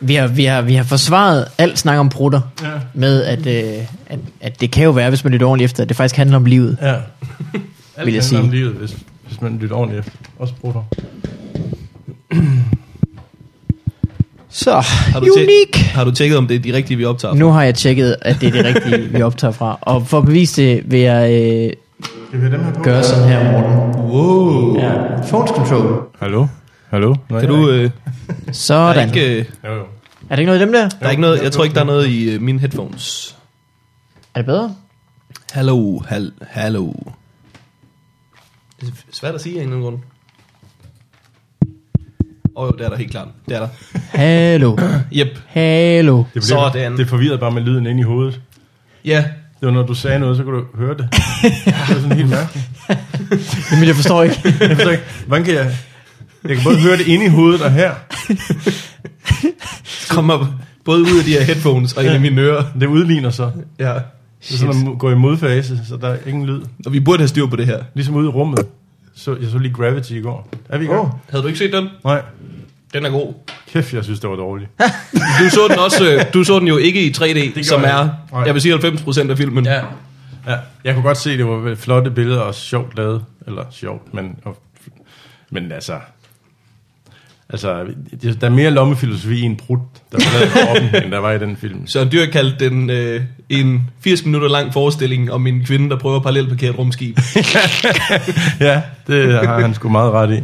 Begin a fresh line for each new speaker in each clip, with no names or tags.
vi, har, vi, har, vi har forsvaret alt snak om prutter
Ja.
med, at, øh, at, at det kan jo være, hvis man lytter ordentligt efter, at det faktisk handler om livet.
Ja. Alt
Vil jeg
handler
sige.
om livet, hvis, hvis man lytter ordentligt efter. Også bruger
Så,
Har du,
unik!
har du tjekket, om det er de rigtige, vi optager?
Nu har jeg tjekket, at det er det rigtige, vi optager fra. Og for at bevise det, vil jeg øh,
Skal vi have dem her på?
gøre sådan her, Morten. Wow. Ja. Phones control.
Hallo? Hallo? Nej,
Kan du,
nej.
øh, der, er
Sådan.
ikke, øh,
Jo, jo.
Er det ikke noget i dem der?
der er ikke noget, jeg tror ikke, der er noget i øh, mine headphones.
Er det bedre?
Hallo, hal, hallo. Det er svært at sige af en eller anden grund. Åh oh, jo, det er der helt klart. Det er der.
Hallo.
Yep.
Hallo.
Det, blev,
Sådan.
det forvirrede bare med lyden ind i hovedet.
Ja,
Det var, når du sagde noget, så kunne du høre det. Det var sådan helt mærkeligt.
Jamen, jeg forstår ikke.
Jeg forstår ikke, hvordan kan jeg... Jeg kan både høre det inde i hovedet og her.
kommer både ud af de her headphones og ind i mine ører.
Det udligner så.
Ja.
Det er sådan at gå i modfase, så der er ingen lyd.
Og vi burde have styr på det her.
Ligesom ude i rummet. Så, jeg så lige Gravity i går. Er vi i gang?
Havde du ikke set den?
Nej.
Den er god.
Kæft, jeg synes, det var dårligt.
Du så den også, øh, du så den jo ikke i 3D,
gjorde
som
jeg
er,
ikke. Nej.
jeg vil sige 90% af filmen.
Ja. ja. Jeg kunne godt se, det var flotte billeder og sjovt lavet. Eller sjovt, men, og, men altså... Altså, det- der er mere lommefilosofi i en brud, der var lavet i kroppen, end der var i den film.
Søren Dyr kaldte den øh, en 80 minutter lang forestilling om en kvinde, der prøver at parallelparkere et rumskib.
Ja, det har han sgu meget ret i.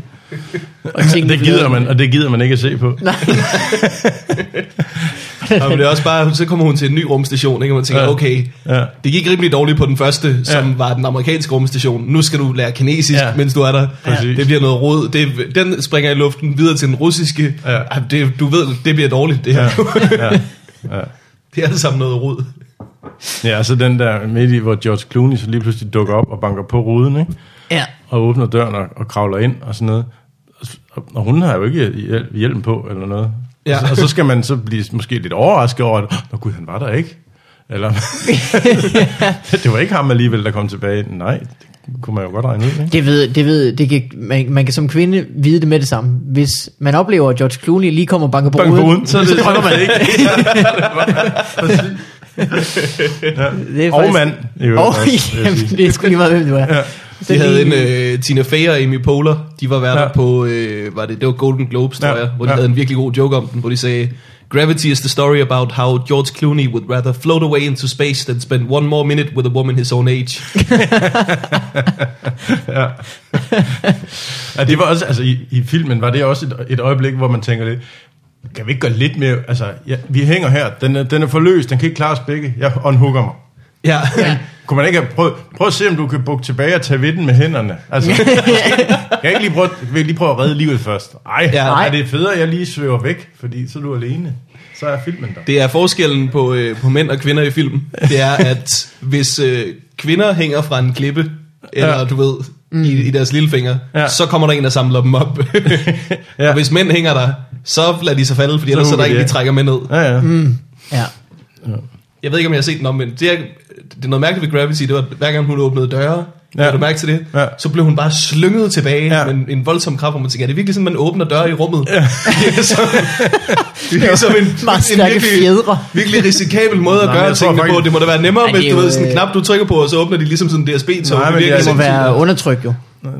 Og tingene
Det gider man, og det gider man ikke at se på.
Og det er også bare, så kommer hun til en ny rumstation, ikke? og man tænker,
Ja.
okay,
Ja.
det gik rimelig dårligt på den første, som
Ja.
var den amerikanske rumstation. Nu skal du lære kinesisk,
Ja.
mens du er der.
Præcis.
Det bliver noget rod. Det, den springer i luften videre til den russiske.
Ja.
Ej, Det, du ved, det bliver dårligt, det her.
Ja.
Ja.
Ja. Ja.
det er alt sammen noget rod.
ja, så den der midt i, hvor George Clooney så lige pludselig dukker op og banker på ruden, ikke?
Ja.
og åbner døren og, og kravler ind og sådan noget. Og s- Og, og hun har jo ikke hjel- hjelm på eller noget.
Ja.
Ja. Og, så, og så skal man så blive måske lidt overrasket over, at Nå gud, han var der ikke. Eller, det var ikke ham alligevel, der kom tilbage. Nej, det kunne man jo godt regne ud, ikke?
Det ved, det ved, det kan, man, man kan som kvinde vide det med det samme. Hvis man oplever, at George Clooney lige kommer og banker på
Bank på
ruden,
uden, så er det, så er det ikke.
det er
Og mand. i øvrigt
Oh,
også, vil jeg sige.
jamen, det er sgu lige meget, hvem du er. Ja.
De havde en øh, Tina Fey og Amy Poehler, de var værter ja.
Ja.
på, øh, var det, det var Golden Globes, tror
Ja,
jeg, hvor de ja.
ja.
havde en virkelig god joke om den, hvor de sagde, Gravity is the story about how George Clooney would rather float away into space than spend one more minute with a woman his own age.
Ja, det var også, altså i, i filmen var det også et, et øjeblik, hvor man tænker lidt, kan vi ikke gøre lidt mere, altså ja, vi hænger her, den er, den er for løs, den kan ikke klare os begge, jeg unhooker mig.
Ja, ja.
Kunne man ikke have prøvet, prøv at se, om du kan bukke tilbage og tage ved den med hænderne. Altså, jeg kan ikke lige prøve, jeg vil lige prøve at redde livet først. Ej,
Ja.
ja, nej. det er federe, at jeg lige søger væk, fordi så er du alene. Så er filmen der.
det er forskellen på, øh, på mænd og kvinder i film. Det er, at hvis øh, kvinder hænger fra en klippe, eller ja.
Ja.
du ved, i, i deres lillefinger, ja.
Ja.
så kommer der en, der samler dem op. ja.
Ja.
Og hvis mænd hænger der, så lader de sig falde, fordi ellers så er der
hugger de
ikke, de
af.
trækker med ned.
Ja, ja. Mm.
Ja.
Jeg ved ikke, om jeg har set den omvendt. Det er, det er noget mærkeligt ved Gravity, det var, at hver gang hun åbnede døre, ja.
Ja.
har du mærke til det?
Ja.
Så blev hun bare slynget tilbage ja.
Ja.
med en, en voldsom kraft, hvor man tænker, er det virkelig sådan, man åbner døre i rummet? Ja. Det er som, det er som en,
Meget
en
stærke fjedre.
virkelig risikabel måde at
Nej, men
gøre
jeg tror
tingene på.
faktisk-
Det må da være nemmere,
Ej, det
hvis
er
du
jo,
ved sådan en
øh,
knap, du trykker på, og så åbner de ligesom sådan en DSB-tog.
Nej, men det er-
Altså,
Det må være undertryk jo.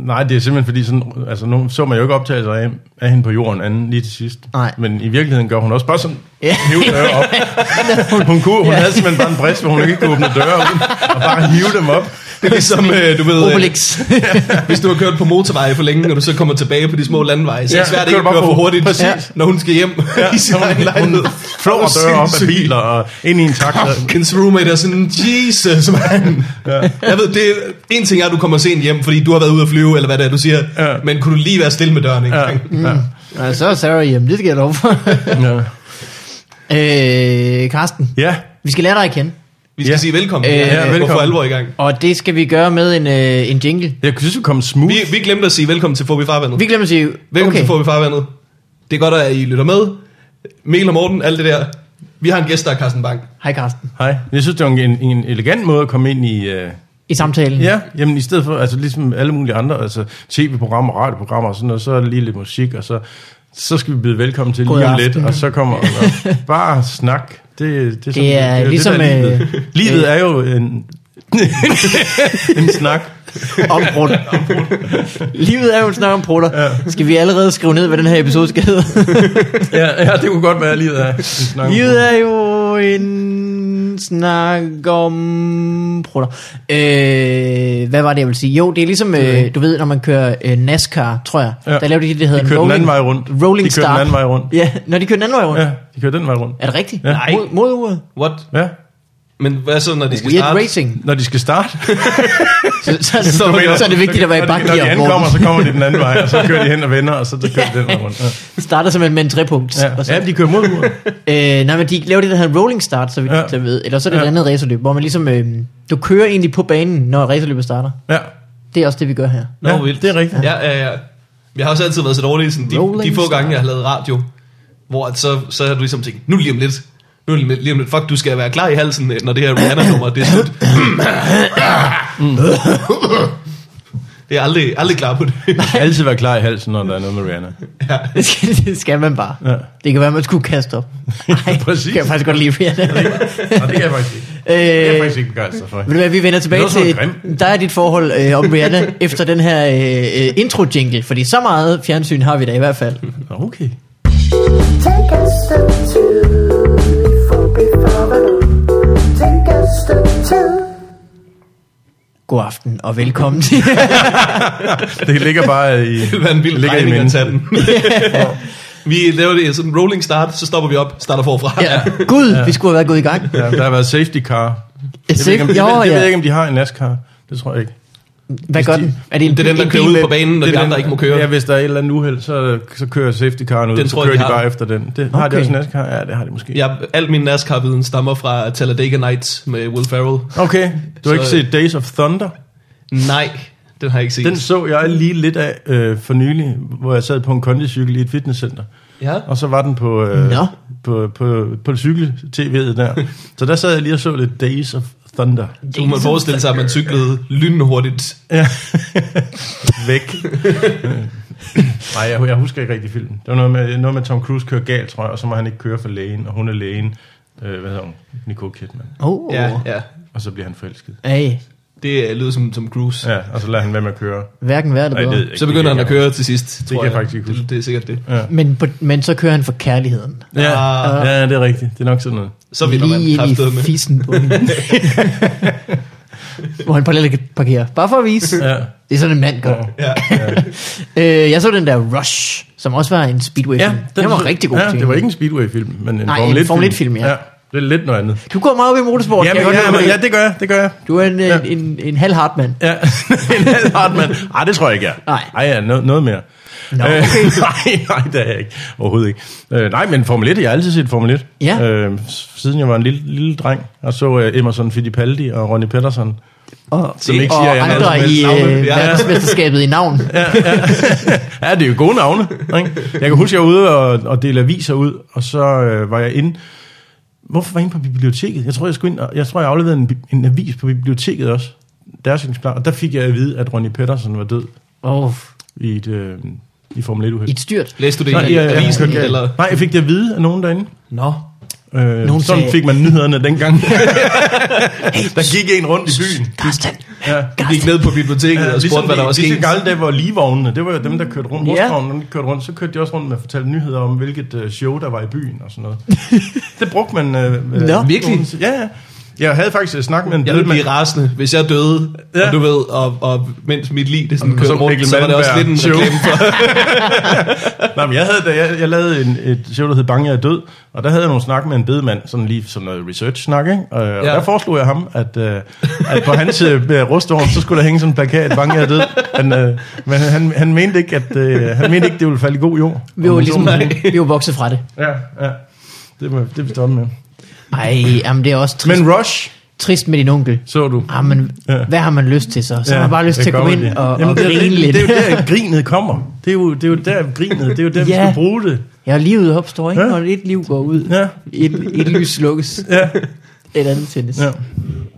Nej, det er simpelthen fordi, sådan, altså, nu så man jo ikke optagelser af, af hende på jorden anden lige til sidst.
Nej.
Men i virkeligheden gør hun også bare sådan,
Ja.
ja. hive døre op. Hun, hun, kunne,
Ja.
hun havde simpelthen bare en brist, hvor hun ikke kunne åbne døre ud, og bare hive dem op.
det er ligesom, øh, du ved, øh,
Obelix.
hvis du har kørt på motorveje for længe, og du så kommer tilbage på de små landeveje, så er det
Ja,
svært ikke
kører
at
bare
køre for
på-
hurtigt,
præcis.
når hun skal hjem ja, i sin
Hun,
egen lejlighed.
hun flår
Åh,
døre op af
sindssygt.
biler og ind i en takt.
Kens roommate er sådan, Jesus, man. Ja. Jeg ved, det er, en ting er, at du kommer sent hjem, fordi du har været ude at flyve, eller hvad det er, du siger. Ja.
Ja.
Men kunne du lige være stille med døren, ikke? Ja.
Ja.
Ja, så er Sarah hjemme, det skal jeg love for.
Ja.
øh, Karsten,
ja.
vi skal lære dig at kende.
Vi skal ja.
Ja.
sige velkommen.
Øh,
ja,
ja,
velkommen. Og få
velkommen.
alvor i gang.
Og det skal vi gøre med en, øh, en jingle.
Jeg synes, vi kom smooth.
Vi, vi glemte at sige velkommen til Fobi Farvandet.
Vi glemmer at sige,
Velkommen okay.
okay,
til Fobi Farvandet. Det er godt, at I lytter med. Mikkel og Morten, alt det der. Vi har en gæst, der er Carsten Bang.
hej Karsten,
Hej. Jeg synes, det var en, en elegant måde at komme ind i... Øh,
i samtalen.
ja, jamen i stedet for, altså ligesom alle mulige andre, altså tv-programmer, radioprogrammer og sådan noget, så er det lige lidt musik, og så Så skal vi byde velkommen til
God
lige om lidt,
aften.
og så kommer og bare snak. Det, det, er, sådan-
Det er ligesom,
der er
øh,
livet. livet er jo en, en snak.
Om brudt. Livet er jo en snak om prutter. Ja. Skal vi allerede skrive ned, hvad den her episode skal hedde?
Ja, ja, det kunne godt være, at livet er en snak.
Livet er jo en snak om prutter. Øh, hvad var det, jeg ville sige? Jo, det er ligesom, øh, du ved, når man kører øh, NASCAR, tror jeg. Ja.
Ja.
Der laver de det, der hedder
De kører den anden vej rundt.
Rolling
de kører
Start.
den anden vej rundt.
Ja, når de kører den anden vej rundt. Ja.
Ja, de kører den vej rundt.
Er det rigtigt?
Ja.
Mod, mod uret.
What?
Ja,
Men hvad så, når de skal
Weird
starte?
racing.
når de skal starte.
Så, så, så, så,
Du mener,
så er det vigtigt at være i
når de- Når de
bakgear.
ankommer,
Morten.
så kommer de den anden vej, og så kører de hen og vender, og så kører de den vej rundt. Ja.
Starter simpelthen med en trepunkt.
Ja,
Og så,
ja men de kører mod uret.
Øh, nej, men de laver det, der hedder rolling start, så vi
Ja.
ja. ved. Eller så er det ja. et
Ja.
andet racerløb, hvor man ligesom, øh, du kører egentlig på banen, når racerløbet starter.
Ja,
Det er også det, vi gør her.
Nå,
Ja,
vildt.
det er rigtigt.
Ja, ja, ja. Jeg har også altid været så dårlig, sådan, de,
Rolling
de få
Stone.
gange, jeg har lavet radio, hvor at så, så har du ligesom tænkt, nu lige om lidt, nu lige om lidt, lige om lidt, fuck, du skal være klar i halsen, når det her Rihanna-nummer, det er slut. det er aldrig, aldrig klar på det.
altid være klar i halsen, når der er noget med Rihanna.
ja.
Det skal, det skal man bare.
Ja.
Det kan være, man skulle kaste op. Nej,
Præcis.
det kan jeg faktisk godt lide. Brian.
Og det er jeg faktisk ikke. Det er jeg
øh,
faktisk ikke begejstret for.
vil du hvad, vi vender tilbage
Det er også
til
noget
dig og dit forhold øh, om Rihanna efter den her øh, intro-jingle, fordi så meget fjernsyn har vi da i hvert fald.
Nå, Okay.
Take a step two before before the Take a step two.
God aften og velkommen til.
Det ligger bare i...
Det ville være en vild
ligger i
regning at
minden.
tage den. vi laver det sådan en rolling start, så stopper vi op, starter forfra.
ja. Gud, ja. vi skulle have været gået i gang.
Ja, der har været safety car. Jeg ved, ikke, om,
Safe-
det,
Jo,
det, det ved jeg
ja.
ikke, om de har en NASCAR. Det tror jeg ikke.
Hvad gør den? Er det en,
Det er den,
en
der kører
bil
ud
med-
på banen, når de andre ikke må køre.
Ja, hvis der er et eller andet uheld, så, så kører safety caren ud,
Den
så
tror jeg,
kører
de
de
har.
bare efter den. Det, Har
Okay.
de også NASCAR? Ja, det har de måske.
Jeg, al min NASCAR-viden stammer fra Talladega Nights med Will Ferrell.
Okay, du har
Så-
ikke set Days of Thunder?
Nej, den har jeg ikke set.
Den så jeg lige lidt af øh, for nylig, hvor jeg sad på en kondicykel i et fitnesscenter.
Ja.
Og så var den på, øh,
Nå.
på, på, på cykel-tv'et der. Så der sad jeg lige og så lidt Days of Thunder.
Så kunne man forestille sig, at man cyklede lynhurtigt.
Ja. Væk. Øh. Nej, jeg, jeg husker ikke rigtig filmen. Det var noget med, noget med Tom Cruise kører galt, tror jeg, og så må han ikke køre for lægen, og hun er lægen. Øh, hvad hedder hun? Nicole Kidman.
Oh,
Ja, ja.
Og så bliver han forelsket.
Hey,
Det øh, lyder som Tom Cruise. Ja.
Ja, og så lader han være med at køre.
hverken værd eller
Nej, det ved jeg
bedre.
ikke.
Så begynder
Det
han
kan
at køre til sidst, tror
kan jeg faktisk ikke huske.
Det, det er sikkert det.
Men, på, men så kører han for kærligheden.
Ja,
Ah.
ja, det er rigtigt. Det er nok sådan noget.
Så vinder man
lige ind
kraftet
i
med.
fissen på hende. Hvor han parallelt kan parkere. Bare for at vise.
Ja.
Det er sådan en mand gør.
Ja.
Ja.
Øh, jeg så den der Rush, som også var en speedway
Ja,
film. den, var rigtig god
ja,
til.
det var ikke en Speedway-film, men en
Nej,
Formel
en
1-film.
Formel 1-film, ja.
ja. Det er lidt noget andet.
Du går meget op i motorsport.
Ja,
kan
men,
jeg
ja,
godt
men,
høre
ja, det gør jeg, det gør jeg.
Du er en,
Ja.
ja. en, en, en halv hard mand.
Ja, en halv Hartmann. Ej, det tror jeg ikke, jeg er.
Nej.
Ej, ja, no, noget mere.
Nå.
Øh, nej, nej, det er jeg ikke. Overhovedet ikke. Øh, nej, men Formel 1, jeg har altid set Formel 1.
Ja.
Øh, s- siden jeg var en lille, lille dreng, og så øh, Emerson Fittipaldi og Ronnie Peterson.
Og,
Som ikke siger,
og
at jeg er
andre
noget som
i
helst
øh,
navn. Ja, ja.
verdensmesterskabet i navn.
Ja, det er jo gode navne. Ikke? Jeg kan huske, jeg var ude og, og dele aviser ud, og så øh, var jeg inde. Hvorfor var jeg inde på biblioteket? Jeg tror, jeg, skulle ind, og- jeg, tror, jeg afleverede en, bi- en avis på biblioteket også. Deres eksemplar. Og der fik jeg at vide, at Ronnie Peterson var død
Oh,
i et, øh, i Formel 1 uheld.
I et styrt.
Læste du det
Nej,
i
ja, ja,
avisen,
ja.
eller?
Nej, jeg fik det at vide af nogen derinde.
Nå.
Øh, sådan
sagde-
fik man nyhederne dengang. der gik en rundt i byen.
Karsten.
Ja.
Du gik ned på biblioteket og spurgte,
Ligesom,
hvad der var
de, ligesom
sket.
gamle dage, hvor ligevognene, det var jo dem, der kørte rundt.
Ja.
Ja. Dem, der kørte rundt, så kørte de også rundt med at fortælle nyheder om, hvilket øh, show, der var i byen og sådan noget. det brugte man... Øh, øh,
Nå.
Virkelig?
Ja, ja. Jeg havde faktisk øh, snak med en
Jeg ville
bedemand.
blive rasende, hvis jeg døde,
Ja.
og du ved, og, og mens mit liv det sådan
så
kører rundt,
Mikkel
så var det også lidt en
Malmberg.
reklame for.
Nej, men jeg, havde, da jeg, jeg lavede en, et show, der hed Bange, jeg er død, og der havde jeg nogle snak med en bedemand, sådan lige sådan noget research-snak, ikke? Og, ja. og
Ja.
der foreslog jeg ham, at, øh, at på hans øh, rustorm, så skulle der hænge sådan en plakat, Bange, jeg er død. Men, øh, men han, han, mente ikke, at, øh, han mente ikke, det ville falde i god jord.
Vi var
Om-
ligesom, vi var vokset fra det.
Ja, ja. Det var det er vi stoppe med.
Ej, jamen det er også trist,
Men
Men,
Rush
trist med din onkel.
så du.
Jamen,
Ja.
Ah, hvad har man lyst til så? Så har man bare lyst
det
til at gå
kommer
ind
det.
og, og
Jamen, det er
grine
rigtigt.
lidt.
Det er jo der, grinet kommer. Det er jo, det er jo der, grinet. Det er jo der, vi
Ja.
skal bruge det.
Ja, livet opstår, ikke?
Ja.
Når et liv går ud.
Ja.
Et, et lys slukkes.
Ja.
Et andet tændes.
ja.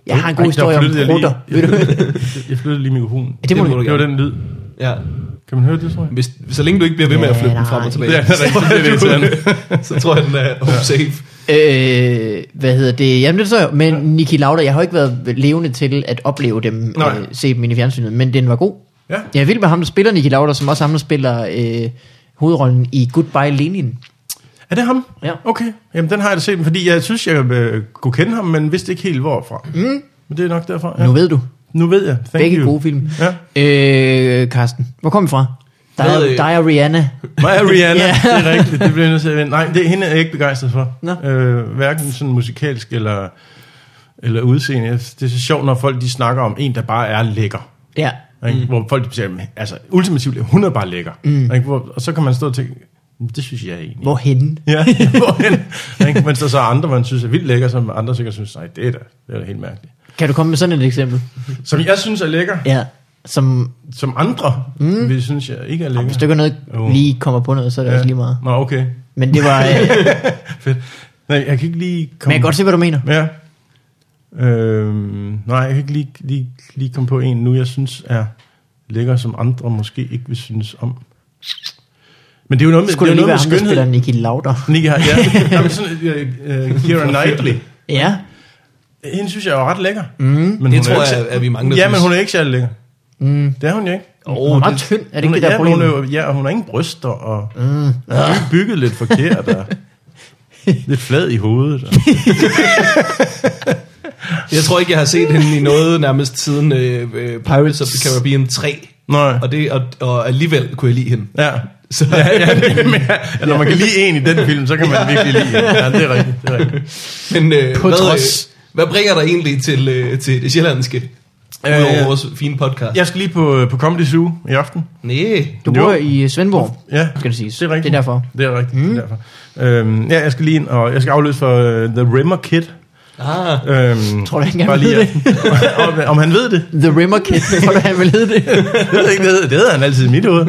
Jeg har en
Ej,
god
der
historie om
flyttede jeg lige-
rutter. Ved du?
Jeg flyttede lige mikrofonen.
Det må
Det må
du
du
Det var den lyd.
Ja.
Kan man høre det, tror jeg?
Hvis, så længe du ikke bliver ved med at flytte
Ja,
den frem
nej.
og tilbage,
Det er rigtigt, det er irriterende.
så tror jeg, den er home safe.
Øh, hvad hedder det? Jamen det så, men Niki Lauda, jeg har jo ikke været levende til at opleve dem,
Nej.
øh, se dem inde i fjernsynet, men den var god.
Ja.
Jeg er vild med ham, der spiller Niki Lauda, som også ham, der spiller øh, hovedrollen i Goodbye Lenin.
Er det ham?
Ja.
Okay. Jamen, den har jeg da set, fordi jeg synes, jeg øh, kunne kende ham, men vidste ikke helt hvorfra. Mm. Men det er nok derfra. Ja.
Nu ved du.
nu ved jeg. Thank
Begge
you.
gode film.
Ja.
Øh, Karsten, hvor kom vi fra? Der
Hvad,
er,
øh?
der er Rihanna.
Mig og Rihanna,
Ja.
det er rigtigt. Det bliver jeg nødt til at vende. Nej, det, hende er jeg ikke begejstret for.
Nå.
Øh, hverken sådan musikalsk eller, eller udseende. Jeg- Det er så sjovt, når folk de snakker om en, der bare er lækker.
Ja.
Ikke? Mm. Hvor folk de siger, "Men, altså ultimativt, er hun er bare lækker. Mm. Ikke? Hvor, og så kan man stå og tænke, "Men det synes jeg egentlig.
Hvorhenne?
Ja, hvorhen? Ikke? Men så så er andre, man synes er vildt lækker, som andre sikkert synes, nej, det er da, det er da helt mærkeligt.
Kan du komme med sådan et eksempel?
Som jeg synes er lækker,
Ja. Som,
som andre mm. vil synes, jeg ikke er lækker.
hvis du ikke har noget,
Jo.
lige kommer på noget, så er det ja. også lige meget.
Nå, okay.
Men det var... Øh,
Fedt. Nej, jeg kan ikke lige komme...
men jeg kan godt se, hvad du mener.
Ja. Øhm, nej, jeg kan ikke lige, lige, lige komme på en nu, jeg synes er lækker, som andre måske ikke vil synes om. Men det er jo noget med,
Skulle det
det er
lige
jo
være
noget
ham, der spiller
med skønhed.
Niki Lauda?
Nika, ja. Jamen, sådan, uh, uh, Keira Knightley.
Ja.
Hende synes jeg er ret lækker. Mm, men hun er
tror
ikke
jeg,
sær-
at vi mangler
Ja,
at
men
vise.
hun er ikke særlig lækker. Mm. Det er hun jo ikke.
Oh, hun er meget tynd, er det ikke det, der er
ja, hun er,
problemet?
jo- ja, og hun har ingen bryster, og mm. er bygget lidt forkert, og lidt flad i hovedet. Og.
Jeg tror ikke, jeg har set hende i noget nærmest siden øh, øh, Pirates of the Caribbean 3.
Nej.
Og, det, og, og alligevel kunne jeg lide hende.
Ja.
Så,
Ja, ja, det, men, ja, når man kan lide en i den film, så kan man virkelig lide en. Ja, det er rigtigt. Det er rigtigt.
men øh,
På
hvad,
trods.
Øh, hvad bringer dig egentlig til, øh, til det sjællandske? Øh, Udover vores fine podcast.
Jeg skal lige på, på Comedy Zoo i aften.
Næh.
Du
Jo.
bor i øh, Svendborg,
Ja,
skal det sige.
det er rigtigt.
Det er derfor.
Det er rigtigt. Mm. Det er derfor. Øhm, ja, jeg skal lige ind, og jeg skal afløse for uh, The Rimmer Kid.
Ah,
Øhm,
Tror du ikke, han
bare
ved
at- om, om han ved det?
The Rimmer Kid, tror du, han vil hedde det?
Jeg ved ikke, det hedder, det hedder han altid i mit hoved.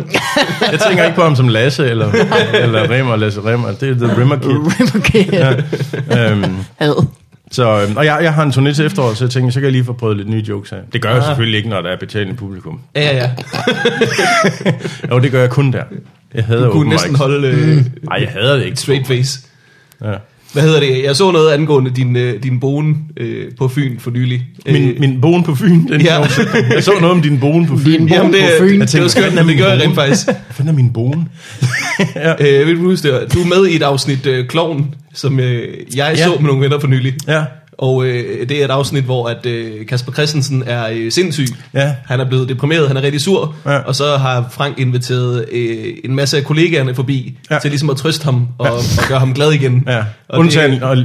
Jeg tænker ikke på ham som Lasse, eller, eller Rimmer, Lasse Rimmer. Det er The Rimmer Kid.
Rimmer Kid. Uh.
Øhm,
Ad.
Så, øhm, og jeg, jeg har en turné til efteråret, så jeg tænkte, så kan jeg lige få prøvet lidt nye jokes af. Det gør jeg
Ah.
selvfølgelig ikke, når der er betalende publikum.
ja, ja, ja.
Jo, det gør jeg kun der. Jeg hader
Du kunne
open
næsten
mics.
holde øh,
Nej, jeg hader det ikke.
et straight face.
Ja.
Hvad hedder det? Jeg så noget angående din, øh, din bone øh, på Fyn for nylig. Øh,
Min, min bogen på Fyn, den
Ja.
ja. Jeg så noget om din bogen på Fyn.
Din
Hvor
Jamen,
bogen.
det,
på
Jeg
Fyn.
tænkte, det var skønt, at det gør jeg rent faktisk.
fanden er min bogen?
Øh, jeg vil ikke huske det. Du er med i et afsnit øh, Kloven, som øh, jeg
Ja.
så med nogle venner for nylig.
Ja.
Og øh, det er et afsnit, hvor at, øh, Kasper Christensen er øh, sindssyg.
Ja.
Han er blevet deprimeret, han er rigtig sur.
Ja.
Og så har Frank inviteret øh, en masse af kollegaerne forbi, ja.
Ja.
til ligesom at trøste ham og, ja. og gøre ham glad igen.
ja.
Og,
Undtagen,
det,
og, og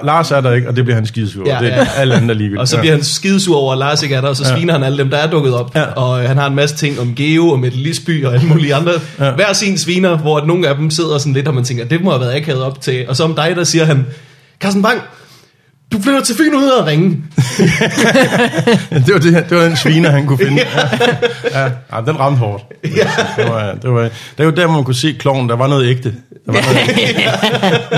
La- Lars er der ikke, og det bliver han skidesur.
Ja,
Ja, det er
ja.
ja. alle andre ligegyldigt.
og så bliver han skidesur over, at Lars ikke er der, og så sviner han alle dem, der er dukket op.
Ja.
Og øh, han har en masse ting om Geo og Mette Lisby og alle mulige andre. Ja.
Ja.
Hver sin sviner, hvor at nogle af dem sidder sådan lidt, og man tænker, det må have været akavet op til. Og så om dig, der siger han, Carsten Bang, du flytter til Fyn uden at ringe.
ja. det, var det, det var den sviner, han kunne finde. Ja. Ja. Ja. Ja, den ramte hårdt.
Ja.
Det var, det var, det var der, hvor man kunne se kloven. Der var noget ægte. Der var noget,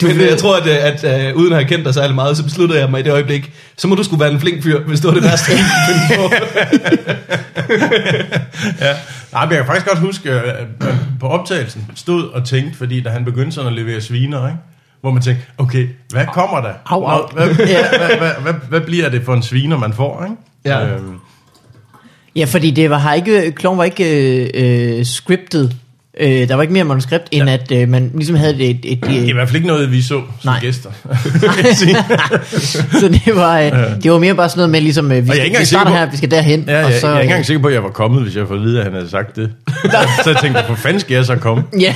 Du Men jeg tror, at, øh, at, at uh, uden at have kendt dig særlig meget, så besluttede jeg mig i det øjeblik, så må du skulle være en flink fyr, hvis det var det værste. jeg kunne finde på.
Nej, men jeg kan faktisk godt huske, øh, at man på optagelsen stod og tænkte, fordi da han begyndte sådan at levere sviner, ikke? hvor man tænkte, okay, hvad kommer der?
Au, au.
Hvad, hvad, hvad, hvad, hvad, hvad bliver det for en sviner, man får? Ikke?
Ja.
Øhm,
Ja, fordi det var, har ikke, Klon var ikke øh, øh, scriptet. Øh, der var ikke mere manuskript, end ja. at øh, man ligesom havde et... et, et
det er i hvert fald ikke noget, vi så som
Nej.
Nej. gæster.
så det var, øh, det var mere bare sådan noget med, ligesom, øh, vi,
er ikke
skal, vi starter
engang sikker på-
her, vi skal derhen.
Ja,
og
jeg,
så,
jeg er ikke
øh,
engang sikker på, at jeg var kommet, hvis jeg havde fået at vide, at han havde sagt det. så jeg tænkte, hvor fanden skal jeg så komme?
Ja,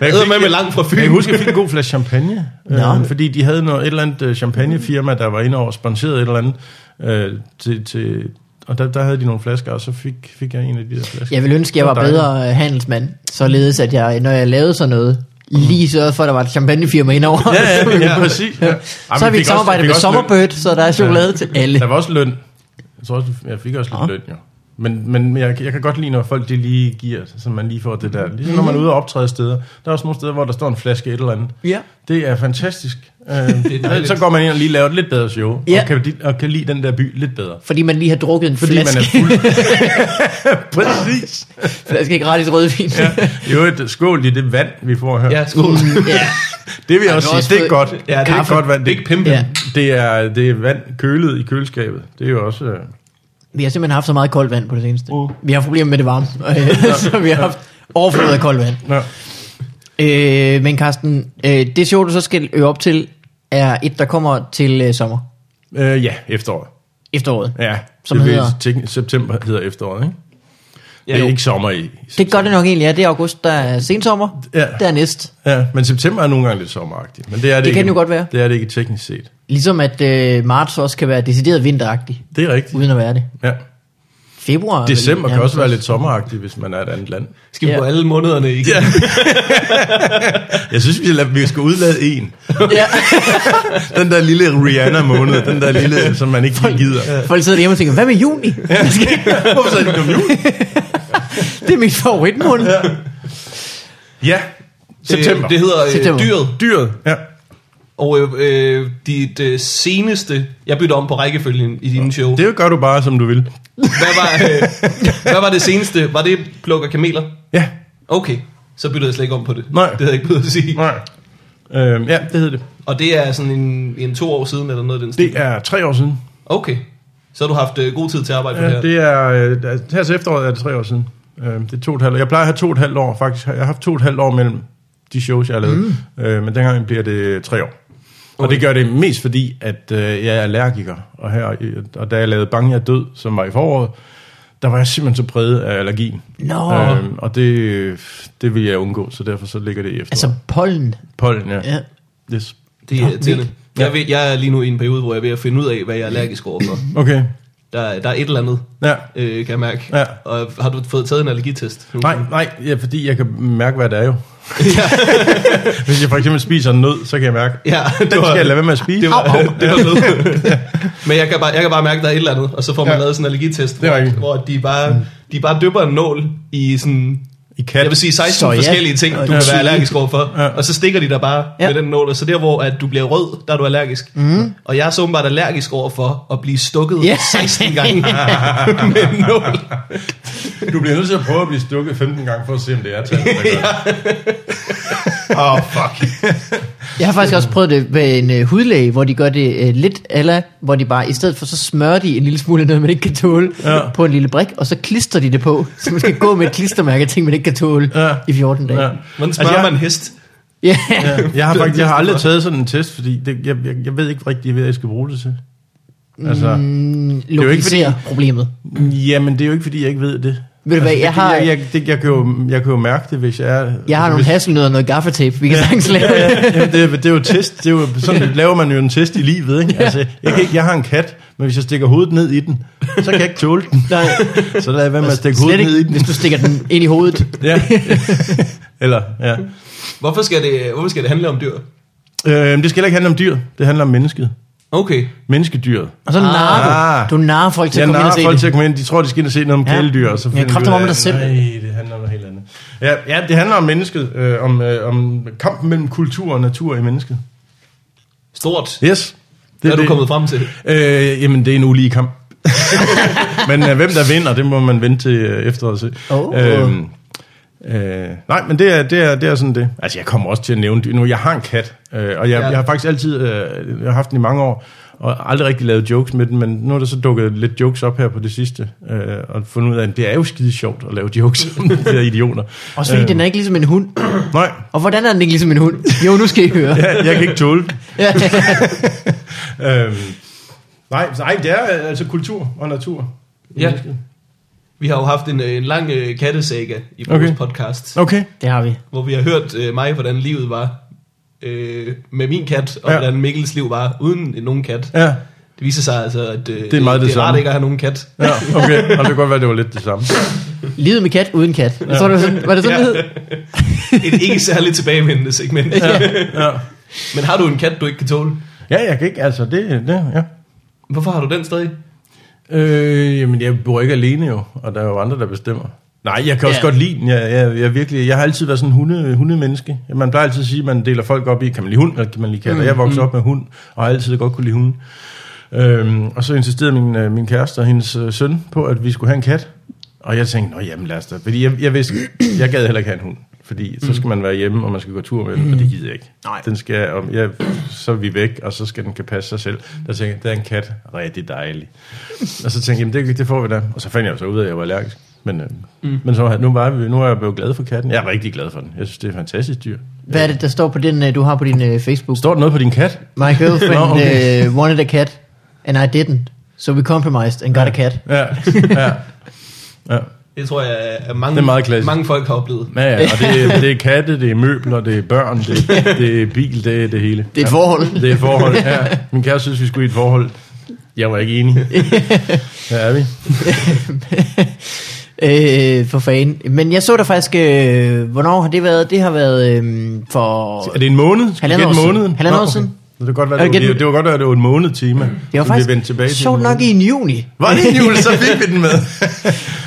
Jeg
Æder med med langt fra Fyn.
Jeg kan huske, jeg fik en god flaske champagne,
Nå.
øh, fordi de havde noget, et eller andet øh, champagnefirma, der var inde over og sponserede et eller andet. Øh, til, til, og der, der havde de nogle flasker, og så fik, fik jeg en af de der flasker.
jeg ville ønske, at jeg
Det
var
var dejligt.
bedre øh, handelsmand, således at jeg, når jeg lavede sådan noget, lige sørgede for, at der var et champagnefirma indover.
Mm. Ja, ja, ja, præcis. Ja. Ej, men
så har vi
fik
et
også-
samarbejde
fik
med
også løn.
Sommerbird, så der er chokolade til alle.
Der var også løn. Jeg tror også, jeg fik også lidt løn, jo. Men, men jeg, jeg kan godt lide, når folk de lige giver, så man lige får det der. Ligesom når man er ude og optræde steder. Der er også nogle steder, hvor der står en flaske et eller andet.
Ja.
Det er fantastisk. det
dejligt.
så går man ind og lige laver et lidt bedre show.
Ja.
Og, kan, li- og kan lide den der by lidt bedre.
Fordi man lige har drukket en
Fordi
flaske,
man er fuld. Præcis.
flaske gratis rødvin.
Ja. Jo, et skål i det vand, vi får her.
Ja, skål.
ja.
Det vil jeg
Har
også
du
sige,
også
det er
fået-
godt.
Ja,
det er
kaffe.
godt vand.
Det er ikke pimpe.
Ja.
Det er, det er vand kølet i køleskabet. Det er jo også... Øh,
Vi har simpelthen haft så meget koldt vand på det seneste.
Oh.
Uh. Vi har haft problemer med det varme, så vi har haft overflod af koldt vand.
nå.
Øh, men Carsten, øh, det show, du så skal øve op til, er et, der kommer til øh, sommer.
Øh, ja, efteråret.
Efteråret.
Ja,
Som
det vil
hedder-
teknisk- september hedder efteråret, ikke?
Ja,
Ja, det er
jo.
ikke sommer i.
Det gør det nok egentlig, ja. Det er august, der er sensommer.
Ja.
Der er næst.
Ja, men september er nogle gange lidt sommeragtigt. Men det, er det,
Det kan
ikke,
det jo godt være.
Det er det ikke teknisk set.
Ligesom at øh, marts også kan være decideret vinteragtig,
Det er rigtigt.
uden at være det.
Ja.
Februar... er vel
December kan
nærmest
også være lidt sommeragtigt, hvis man er et andet land.
Skal vi
Ja.
gå alle månederne igen?
Ja. Jeg synes, vi, lader, vi skal udlade en.
Ja.
Den der lille Rihanna-måned, den der lille, som man ikke lige gider.
Folk sidder derhjemme og tænker, hvad med juni?
Hvorfor sagde de, "Nå, jul?"
Det er min favoritmåned. Ja.
Ja, september.
Det, det hedder
September.
september. Dyret.
Dyret, ja.
Og øh, øh, dit øh, seneste... Jeg bytter om på rækkefølgen i dine show.
Det gør du bare, som du vil.
Hvad var, øh, hvad var det seneste? Var det plukker kameler?
Ja,
Okay, så byttede jeg slet ikke om på det.
Nej.
Det havde jeg ikke behøvet at sige.
nej. Øhm, ja, det hed det.
Og det er sådan en, en to år siden, eller noget af den stil.
Det er tre år siden.
Okay, så har du haft øh, god tid til at arbejde med
Ja,
det her.
det er, øh, altså, her til efteråret er det tre år siden. Øhm, det er to og et halvt år. Jeg plejer at have to og et halvt år, faktisk. Jeg har haft to og et halvt år mellem de shows, jeg har lavet. Mm. Øh, men dengang bliver det tre år. Og det gør det mest fordi, at øh, jeg er allergiker. Og, her, øh, og da jeg lavede Bange er død, som var i foråret, der var jeg simpelthen så præget af allergien.
Nå.
Øhm, og det, øh, det vil jeg undgå, så derfor så ligger det i efteråret.
Altså pollen.
pollen, ja.
Ja.
ja. Yes.
Det
Nå,
er irriterende.
vildt.
Jeg, ved, jeg er lige nu i en periode, hvor jeg er ved at finde ud af, hvad jeg er allergisk overfor.
Okay,
Der, er- der er et eller andet,
ja.
øh, kan jeg mærke.
Ja.
Og har du fået taget en allergitest? nu?
Nej, nej, ja, fordi jeg kan mærke, hvad det er jo. Hvis jeg for eksempel spiser en nød, så kan jeg mærke,
Ja,
den
det var,
skal jeg lade være med at spise.
det var, det var ved. Men jeg kan, bare, jeg kan bare mærke, at der er et eller andet, og så får man
Ja.
lavet sådan en allergitest,
Det er
hvor,
rigtigt. Mm.
hvor de, bare, de bare dypper en nål i sådan
I kat.
Jeg vil sige 16
Så
så,
ja.
ja. forskellige ting, du
Og
kan
chili.
være allergisk overfor.
Ja.
Ja. Og så stikker de dig bare
Ja.
ja. med den nål, og så der hvor at du bliver rød, der er du allergisk. Mm. Og jeg er så åbenbart allergisk overfor at blive stukket
Ja.
yeah. 16 gange med en nål.
Du bliver nødt til at prøve at blive stukket 15 gange, for at se, om det er tallet, der gør det. Åh, oh, fuck.
Jeg har faktisk også prøvet det med en øh, hudlæge, hvor de gør det øh, lidt eller hvor de bare, i stedet for så smører de en lille smule af noget, man ikke kan tåle, ja.
Ja.
på en lille brik, og så klister de det på. Så man skal gå med et klistermærke af ting, man ikke kan tåle ja.
Ja.
i 14 dage.
Ja.
Ja.
Hvordan
Altså,
smører altså,
jeg-
man en hest?
Ja.
Ja, jeg har faktisk jeg har aldrig taget sådan en test, fordi det, jeg, jeg, jeg ved ikke rigtig, hvad jeg skal bruge det til. Altså,
Mm,
er jo ikke fordi-
lokaliserer problemet.
jamen, det er jo ikke, fordi jeg ikke ved det.
Ved du hvad,
altså,
jeg
det, kan-
har-
Jeg, jeg, det, jeg, kan jo, jeg kan jo mærke det, hvis jeg er... altså,
Jeg har nogle
hvis,
hasselnødder og noget gaffatape, vi kan sagtens lave.
ja, ja, jamen, det, er- det er jo test. Det er jo, sådan laver man jo en test i livet. Ikke? Altså, jeg, kan ikke, jeg har en kat, men hvis jeg stikker hovedet ned i den, så kan jeg ikke tåle den. Nej. Så lader jeg være med at stikke
Altså, Slet
hovedet ned i
ikke,
den.
hvis du stikker den ind i hovedet.
Ja. Eller, ja.
Hvorfor skal, det, hvorfor skal det handle om dyr?
Øh, det skal heller ikke handle om dyr. Det handler om mennesket.
Okay.
Menneskedyret.
Og så narrer
Ah.
du. Du narrer folk til at
Jeg
komme ind og
narrer
se
folk
det.
til at komme ind. De tror, de skal ind og se noget om
Ja.
ja. kæledyr. Og så
Ja,
finder de
kræfter
ud
mig
af,
med dig selv.
Nej, det handler om noget helt andet. Ja, ja det handler om mennesket. Øh, om, øh, om kampen mellem kultur og natur i mennesket.
Stort.
Yes.
Hvad er du kommet frem til?
Øh, jamen, det er en ulige kamp. men øh, hvem der vinder, det må man vente til øh, efteråret at se.
Oh.
Øhm, øh, nej, men det er, det, er, det er sådan det. Altså, jeg kommer også til at nævne dyr. Nu, jeg har en kat, øh, og jeg,
Ja.
ja. jeg har faktisk altid øh, jeg har haft den i mange år, og aldrig rigtig lavet jokes med den, men nu er der så dukket lidt jokes op her på det sidste, øh, og fundet ud af, at det er jo skide sjovt at lave jokes om de der idioter.
Også fordi
Øh,
den er ikke ligesom en hund.
Nej,
Og hvordan er den ikke ligesom en hund? Jo, nu skal I høre.
jeg, jeg kan ikke tåle den.
Ja.
Øhm, nej, nej, det er øh, altså kultur og natur. i
Ja.
mennesket.
Vi har jo haft en, øh, en lang øh, kattesaga i vores
Okay.
okay. podcast,
Okay.
Det har vi.
hvor vi har hørt øh, mig, hvordan livet var øh, med min kat, og
Ja.
ja. hvordan Mikkels liv var uden nogen kat.
Ja,
Det viser sig altså, at øh, det
er meget det
det er rart
samme.
ikke at have nogen kat.
ja okay. Og det kan godt være, det var lidt det samme.
Livet med kat uden kat. Jeg tror, det var sådan, var det sådan,
Ja.
det hed?
Et ikke særligt tilbagevendende segment. Ja.
Ja,
Men har du en kat, du ikke kan tåle?
ja jeg kan ikke, altså det, det ja.
Hvorfor har du den stadig?
Øh, jamen, jeg bor ikke alene jo, og der er jo andre, der bestemmer. Nej, jeg kan også
Ja.
ja. godt lide den. Jeg, jeg, jeg, virkelig, jeg har altid været sådan en hunde, hundemenneske. Man plejer altid at sige, at man deler folk op i, kan man lide hund, eller kan man lide katter? Mm, jeg voksede mm. op med hund, og har altid godt kunne lide hunden. Øhm, og så insisterede min, øh, min kæreste og hendes øh, søn på, at vi skulle have en kat. Og jeg tænkte, nå jamen lad os da. Fordi jeg, jeg vidste, jeg gad heller ikke have en hund. Fordi så skal man være hjemme, og man skal gå tur med den, og det gider jeg ikke.
Nej.
Den skal, om jeg, så er vi væk, og så skal den kan passe sig selv. Der tænkte jeg, der er en kat rigtig dejlig. Og så tænkte jeg, jamen det, det får vi da. Og så fandt jeg jo så ud af, at jeg var allergisk. Men, øh, mm. men så, har- nu, var vi, nu er jeg blevet glad for katten. Jeg er rigtig glad for den. Jeg synes, det er et fantastisk dyr.
Hvad er det, der står på den, øh, du har på din øh, Facebook?
Står der noget på din kat?
My girlfriend
Nå, okay.
uh, wanted a cat, and I didn't. So we compromised and got a cat.
Ja, ja. ja.
Det tror jeg, at mange,
Det er meget klassisk.
mange folk har oplevet.
Ja, ja, og det, er- det er katte, det er møbler, det er børn, det, det er bil, det er det hele.
Det er et forhold.
Ja, det er et forhold, ja. Min kæreste synes, vi skulle i et forhold. Jeg var ikke enig. Her er vi.
Øh, for fanden. Men jeg så der faktisk, øh, hvornår har det været? Det har været øh, for...
Er det en måned? Skal vi
Halvandet år
gætte
siden.
måneden?
Halvandet
Nå,
år
okay.
siden.
Det var godt, være, det,
Jeg
var,
gætter-
det var godt, at det var en måned tema.
Det var
som vi vendte tilbage
faktisk
til
sjovt
en
nok
måned.
i en juni.
Var det en jul, så fik vi den med.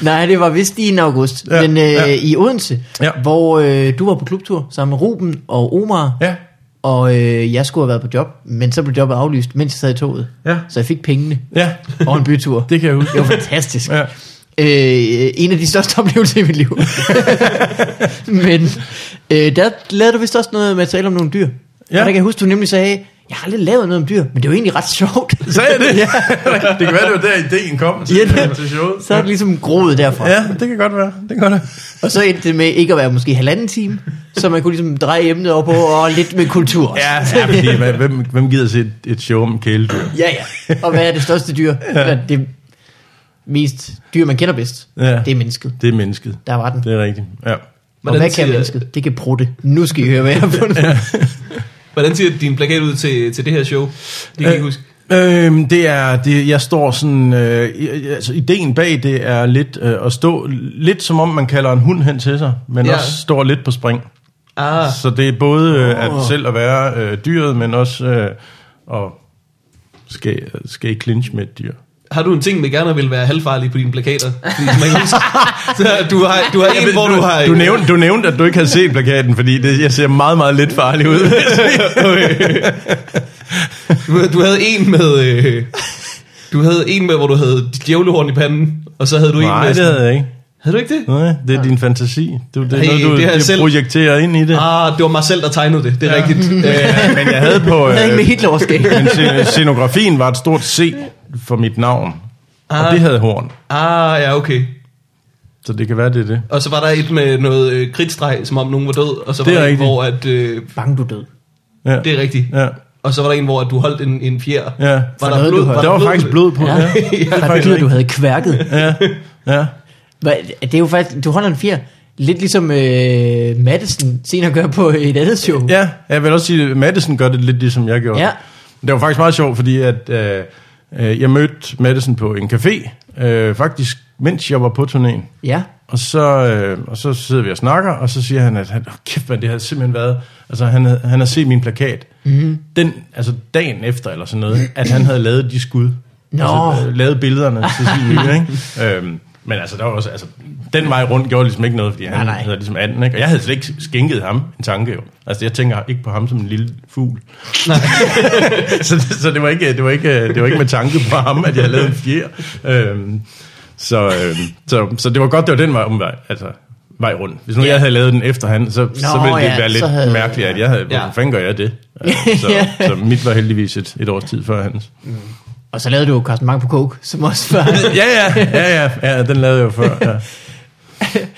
Nej, det var vist i en august. Ja,
Ja,
men øh, ja.
ja.
i Odense, ja.
Ja.
hvor øh, du var på klubtur sammen med Ruben og Omar.
Ja.
Og øh, jeg skulle have været på job, men så blev jobbet aflyst, mens jeg sad i toget.
Ja.
Så jeg fik pengene
Ja,
og en bytur.
det kan jeg huske.
Det var fantastisk. Ja.
Ja.
Øh, en af de største oplevelser i mit liv. Men øh, der lavede du vist også noget materiale om nogle dyr. Ja. Og der kan jeg huske, du nemlig sagde, jeg har aldrig lavet noget om dyr, men det var egentlig ret sjovt.
Sagde jeg det? ja. det kan være, det var der ideen kom til,
Ja, det-
til showet.
så er det ligesom groet derfra.
Ja, det kan godt være. Det kan godt være.
Og så endte det med ikke at være måske halvanden time, så man kunne ligesom dreje emnet over på, og lidt med kultur.
Ja, ja fordi, hvad- hvem, hvem gider se et, et show om kæledyr?
ja, ja. Og hvad er det største dyr? Hvad er det mest dyr, man kender bedst?
Ja.
Det er mennesket.
Det er mennesket.
Der var den.
Det er rigtigt, ja.
Og hvad kan
siger,
mennesket? Det kan prutte. Nu skal I høre, hvad jeg har fundet.
Hvordan ser din plakat ud til, til det her show? Det kan jeg
Øh,
ikke huske.
Øhm, det er, det, jeg står sådan, øh, i- altså ideen bag det er lidt øh, at stå, lidt som om man kalder en hund hen til sig, men
Ja.
ja. også står lidt på spring.
Ah,
Så det er både øh, at
Åh.
selv at være øh, dyret, men også øh, at skal, skal i clinch med et dyr.
har du en ting, med gerne vil være halvfarlig på dine plakater? Fordi man kan huske. Så du har, du har en, hvor du har...
du, nævnte, du nævnte, at du ikke havde set plakaten, fordi det, jeg ser meget, meget lidt farlig ud.
Du, du havde en med... Øh, du havde en med, hvor du havde djævlehorn i panden, og så havde du en
Nej,
med...
det havde jeg ikke.
havde du ikke det?
Nej, det er din fantasi. Du, det er
Hey,
noget, du
det har jeg
det
selv-
projekterer ind i det.
Ah, det var mig selv, der tegnede det. Det er ja. rigtigt. Øh,
Ja, men jeg havde på...
Jeg havde en med
Øh,
Hitler også gav.
men scen- scenografien var et stort C for mit navn.
Ah.
Og det havde horn.
Ah, ja, okay.
Så det kan være, det er det.
Og så var der et med noget øh, kridtstreg, som om nogen var død, og så var
Det er
der en,
rigtigt.
hvor at... Øh,
Bange du død.
Ja.
det er rigtigt.
Ja.
Og så var der en, hvor at du holdt en, en fjer.
Ja.
For noget, du holdt.
Der var faktisk blod på.
Ja.
Ja.
ja.
det er
Var det
faktisk
dyr, du
rigtigt.
havde kværket?
Ja. ja.
Hvad- Det er jo faktisk, du holder en fjer. Lidt ligesom øh, Madison senere gør på et andet show.
Ja, jeg vil også sige, at Madison gør det lidt ligesom jeg gjorde.
Ja.
Det var faktisk meget sjovt, fordi at, øh, øh, jeg mødte Madison på en café, øh, faktisk mens jeg var på turnéen.
ja.
Og så, øh, og så sidder vi og snakker, og så siger han, at han, oh, kæft man, det har simpelthen været, altså han, havde- han har set min plakat,
Mhm.
mm. den, altså dagen efter eller sådan noget, at han havde lavet de skud.
Nå.
Altså, øh, lavet billederne til sin nye, ikke? Øhm, men altså, der var også, altså, den vej rundt gjorde ligesom ikke noget, fordi han
Nej, nej.
havde ligesom anden, ikke? Og jeg havde slet ikke skænket ham en tanke, jo. Altså, jeg tænker ikke på ham som en lille fugl. så, det- så det, var ikke, det, var ikke, det var ikke med tanke på ham, at jeg havde lavet en fjer. Øhm, så, øhm, så, så det var godt, det var den vej, omvej, altså, vej rundt. Hvis nu
Ja.
jeg havde lavet den efter han, så, så
Nå,
ville det
ja,
være
så
lidt
havde-
havde... mærkeligt, at jeg havde,
Ja.
ja. hvorfor fanden gør jeg det?
Ja.
Altså, så, så mit var heldigvis et, et års tid før hans.
Og så lavede du jo Carsten Mang på coke, som også før.
Ja, ja, ja, ja, ja den lavede jeg jo før, ja.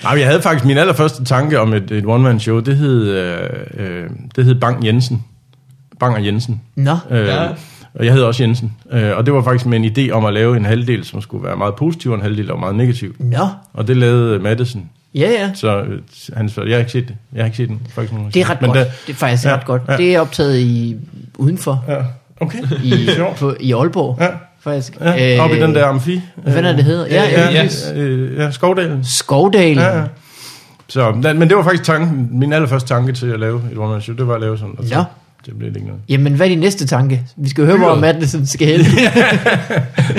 Nej, men jeg havde faktisk min allerførste tanke om et, et one-man-show, det hed, øh, øh, det hed Bang Jensen. Bang og Jensen.
Nå,
Øh,
Ja.
ja. Og jeg hed også Jensen. Øh, og det var faktisk med en idé om at lave en halvdel, som skulle være meget positiv, og en halvdel, der var meget negativ.
nå.
Og det lavede øh, Madison.
Ja, ja.
Så øh, han så, jeg har ikke set det. Jeg har ikke set den. Faktisk, nogen har
Det er
set
ret
den.
godt.
Men
det er faktisk
ja,
ret godt.
ja.
Det er optaget i udenfor
der- ja. Okay.
i,
Sjovt.
på, i Aalborg.
Ja.
Faktisk.
Ja, øh, op i den der amfi.
Hvad fanden er det hedder? Ja, ja,
Ja,
ja.
ja,
præcis.
øh, ja, Skovdalen.
Skovdalen.
Ja, ja. Så, men men det var faktisk tanken, min allerførste tanke til at lave et one-man-show, det var at lave sådan. Og så
Nå.
det blev ikke noget.
Jamen, hvad er din næste tanke? Vi skal jo høre, hvor
Fyret.
Maddelsen skal hen.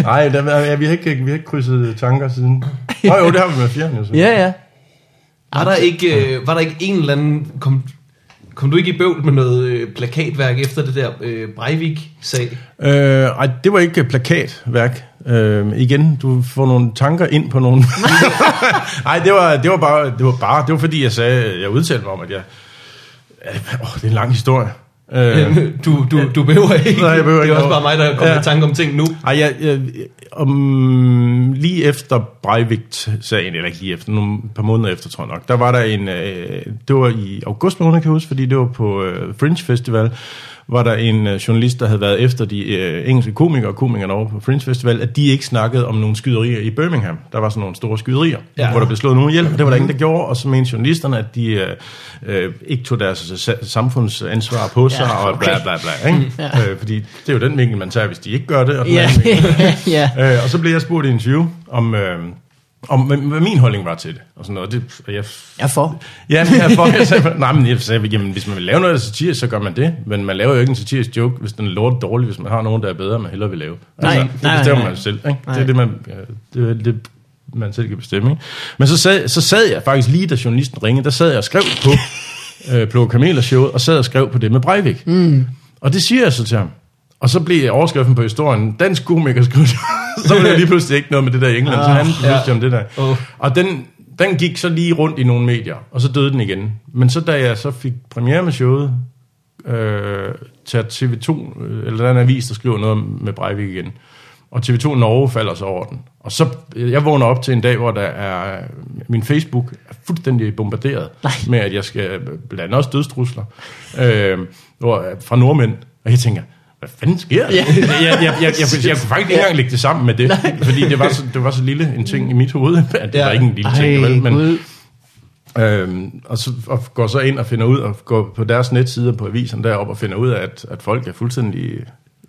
Nej, der, ja, vi, har ikke, vi har ikke krydset tanker siden. Nå jo, det har vi med fjern jo. så.
ja, ja.
Var der ikke, øh, var der ikke en eller anden... Kom, kom du ikke i bøvl med noget øh, plakatværk efter det der øh, Breivik-sag?
Øh, ej, det var ikke plakatværk. Øh, igen, du får nogle tanker ind på nogle... Nej, det var, det, var bare, det var bare... Det var fordi, jeg sagde... Jeg udtalte mig om, at jeg... Øh, åh, det er en lang historie. Øh,
Du, du, du behøver ikke.
Nej, jeg behøver
det
ikke
er også bare
noget.
mig, der kommer
Ja.
ja. i tanke om ting nu.
Ej, jeg, jeg, om, lige efter Breivik-sagen, eller ikke lige efter, nogle par måneder efter, tror jeg nok, der var der en, øh, det var i august måned, kan jeg huske, fordi det var på øh, Fringe Festival, var der en øh, journalist, der havde været efter de øh, engelske komikere og komikerne over på Fringe Festival, at de ikke snakkede om nogle skyderier i Birmingham. Der var sådan nogle store skyderier,
Ja.
ja. hvor der blev slået nogen ihjel, og det var der ingen, der gjorde, og så mente journalisterne, at de øh, øh, ikke tog deres sa- samfundsansvar på sig, ja,
Ja,
okay. og bla bla bla, ikke? Ja. Øh, fordi det er jo den vinkel, man tager, hvis de ikke gør det, og den
Ja,
anden vinkel,
ja.
Øh, og så blev jeg spurgt i en interview, om, øh, om hvad, hvad min holdning var til det. Og sådan noget. Det, og jeg,
Jeg er for.
ja, men jeg, for, jeg sagde, nej, men jeg sagde, jamen, hvis man vil lave noget af satirisk, så gør man det. Men man laver jo ikke en satirisk joke, hvis den er lort dårlig, hvis man har nogen, der er bedre, man hellere vil lave. Altså,
Nej,
det
nej,
bestemmer
nej.
man selv. Ikke? Det
Nej.
er det, man, ja, det, er det, man selv kan bestemme. Ikke? Men så sad, så sad jeg faktisk lige, da journalisten ringede, der sad jeg og skrev på øh, Blå Kameler showet, og sad og skrev på det med Breivik. Mm. Og det siger jeg så til ham. Og så blev overskriften på historien, dansk komiker skrev så blev det lige pludselig ikke noget med det der i England,
Ah.
så han pludselig
ja.
om det der.
Åh.
Og den, den gik så lige rundt i nogle medier, og så døde den igen. Men så da jeg så fik premiere med showet, øh, tager TV2, øh, eller der er en avis, der skriver noget om- med Breivik igen. Og TV2 Norge falder så over den. Og så, jeg vågner op til en dag, hvor der er, min Facebook er fuldstændig bombarderet
Nej.
med, at jeg skal blande også dødstrusler øh, hvor, fra nordmænd. Og jeg tænker, hvad fanden sker der?
Ja.
Ja. Jeg, jeg, jeg, jeg, jeg, jeg kunne faktisk ikke engang lægge det sammen med det, fordi det var, så, det var så lille en ting i mit hoved, at det
Ja.
var ikke en lille ting.
Ej,
vel, men,
Gud.
Øhm, og, så, og går så ind og finder ud, og går på deres nettsider på avisen deroppe, og finder ud af, at, at folk er fuldstændig,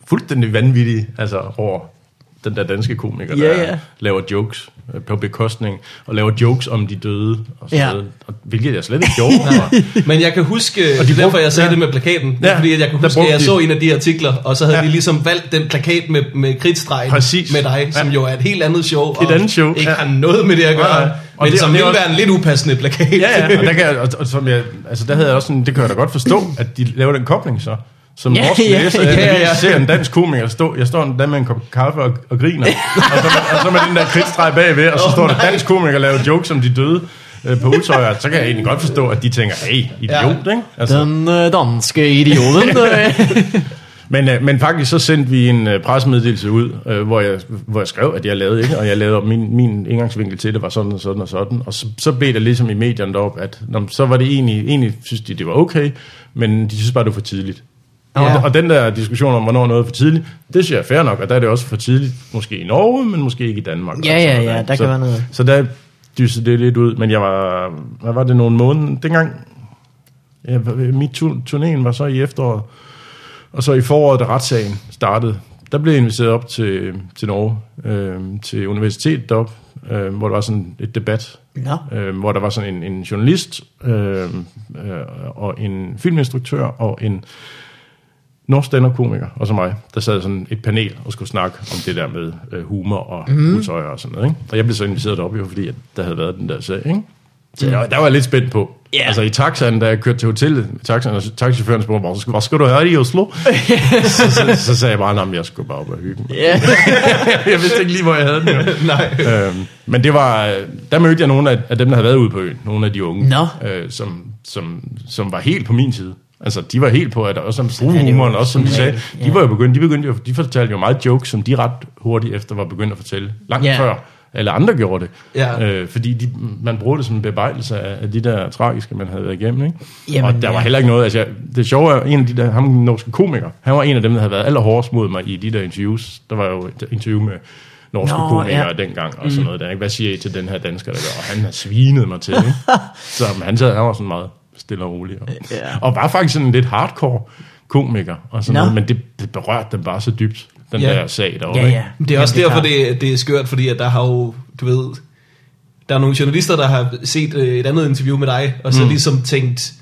fuldstændig vanvittige altså, over den der danske komiker,
Ja,
der
ja.
laver jokes øh, på bekostning, og laver jokes om de døde, og sådan
Ja.
ja. noget, og, hvilket jeg slet ikke gjorde. Altså, og,
Men jeg kan huske, og det
de
er derfor
brugte-
jeg sagde ja.
ja.
det med plakaten, ja.
Ja,
fordi at jeg kan
der
huske, at jeg
brugte de-
så en af de artikler, og så havde ja.
Ja.
de ligesom valgt den plakat med, med kritstregen
Præcis.
med dig, som
Ja.
jo er et helt andet show, og
andet show,
ikke
ja.
har noget med det at gøre,
Nej,
ja.
nej.
men
Og
det,
det-
som
og det
ville
er også-
være en lidt upassende plakat.
Ja, ja, og der, kan jeg, og, og som jeg, altså der havde jeg også sådan, det kan jeg da godt forstå, at de laver den kobling så. Som
Ja,
vores
ja,
læser,
ja,
ja, ja,
ja.
ja. ser en dansk komiker stå, jeg står endda med en kop kaffe og, og griner, og så, og så med den der kridtstreg bagved, og så
Åh,
står der
nej.
dansk komiker og laver jokes om de døde øh, på Utøjer, så kan jeg egentlig godt forstå, at de tænker, hey, idiot, ja. ikke? Altså,
Den øh, danske idioten. øh.
men, øh, men faktisk så sendte vi en øh, pressemeddelelse ud, øh, hvor, jeg, hvor jeg skrev, at jeg lavede ikke, og jeg lavede op, min, min indgangsvinkel til det var sådan og sådan og sådan, og så, så blev det ligesom i medierne derop, at nå, men så var det egentlig, egentlig synes de, det var okay, men de synes bare, det var for tidligt. Ja.
Ja.
Og, og den der diskussion om, hvornår noget er for tidligt, det synes jeg er fair nok, og der er det også for tidligt, måske i Norge, men måske ikke i Danmark.
Ja,
og sådan
ja,
noget,
ja,
ikke?
der kan
så,
være noget.
Så der dysede det lidt ud, men jeg var, hvad var det, nogle måneder, dengang, ja, mit tu- turnéen var så i efteråret, og så i foråret, da retssagen startede, der blev jeg inviteret op til, til Norge, øh, til universitetet deroppe, øh, hvor der var sådan et debat,
Nå.
øh, hvor der var sådan en, en journalist, øh, øh, og en filminstruktør, og en norsk komiker og så mig, der sad sådan et panel og skulle snakke om det der med øh, humor og
Mhm.
mm. utøjer og sådan noget. Ikke? Og jeg blev så inviteret op, jo, fordi at der havde været den der sag. Ikke? Så jeg, der var jeg lidt spændt på.
Mhm. Ja.
Altså i taxaen, da jeg kørte til hotellet, taxaen, og taxichaufføren spurgte mig, "Hvor skal- hvor skal du have i Oslo? så, så, så, sagde jeg bare, at jeg skulle bare op og hygge mig.
Ja.
jeg vidste ikke lige, hvor jeg havde den. jo.
Nej.
Øhm, men det var, øh, der mødte jeg nogle af, af dem, der havde været ude på øen. Nogle af de unge,
Nå.
øh, som, som, som var helt på min side. Altså, de var helt på, at også om
er det jo.
brughumoren, også som de
Sådan er
sagde,
det, ja.
de var jo begyndt, de, begyndte jo, de fortalte jo meget jokes, som de ret hurtigt efter var begyndt at fortælle. Langt
Ja.
yeah. før alle andre gjorde det.
Ja.
Øh, fordi de, man brugte det som en bebejdelse af, af de der tragiske, man havde været igennem. Ikke?
Jamen,
og der var
ja.
heller ikke noget. Altså, jeg, det sjove er, en af de der, ham den norske komiker, han var en af dem, der havde været allerhårdest mod mig i de der interviews. Der var jo et interview med norske
Nå,
Nå, komikere
ja.
ja. dengang, og sådan noget der. Ikke? Hvad siger I til den her dansker, der gør? Og han har svinet mig til, ikke? Så men han, sad, han var sådan meget stille og rolig. Og,
Ja.
og var faktisk sådan en lidt hardcore komiker, og sådan
Nå.
noget, men det, det berørte dem bare så dybt, den
Ja.
ja. der sag derovre.
Ja,
ikke?
ja.
Det er også
Jamen,
derfor,
klart.
det, det er skørt, fordi at der har jo, du ved, der er nogle journalister, der har set øh, et andet interview med dig, og så mm. ligesom tænkt,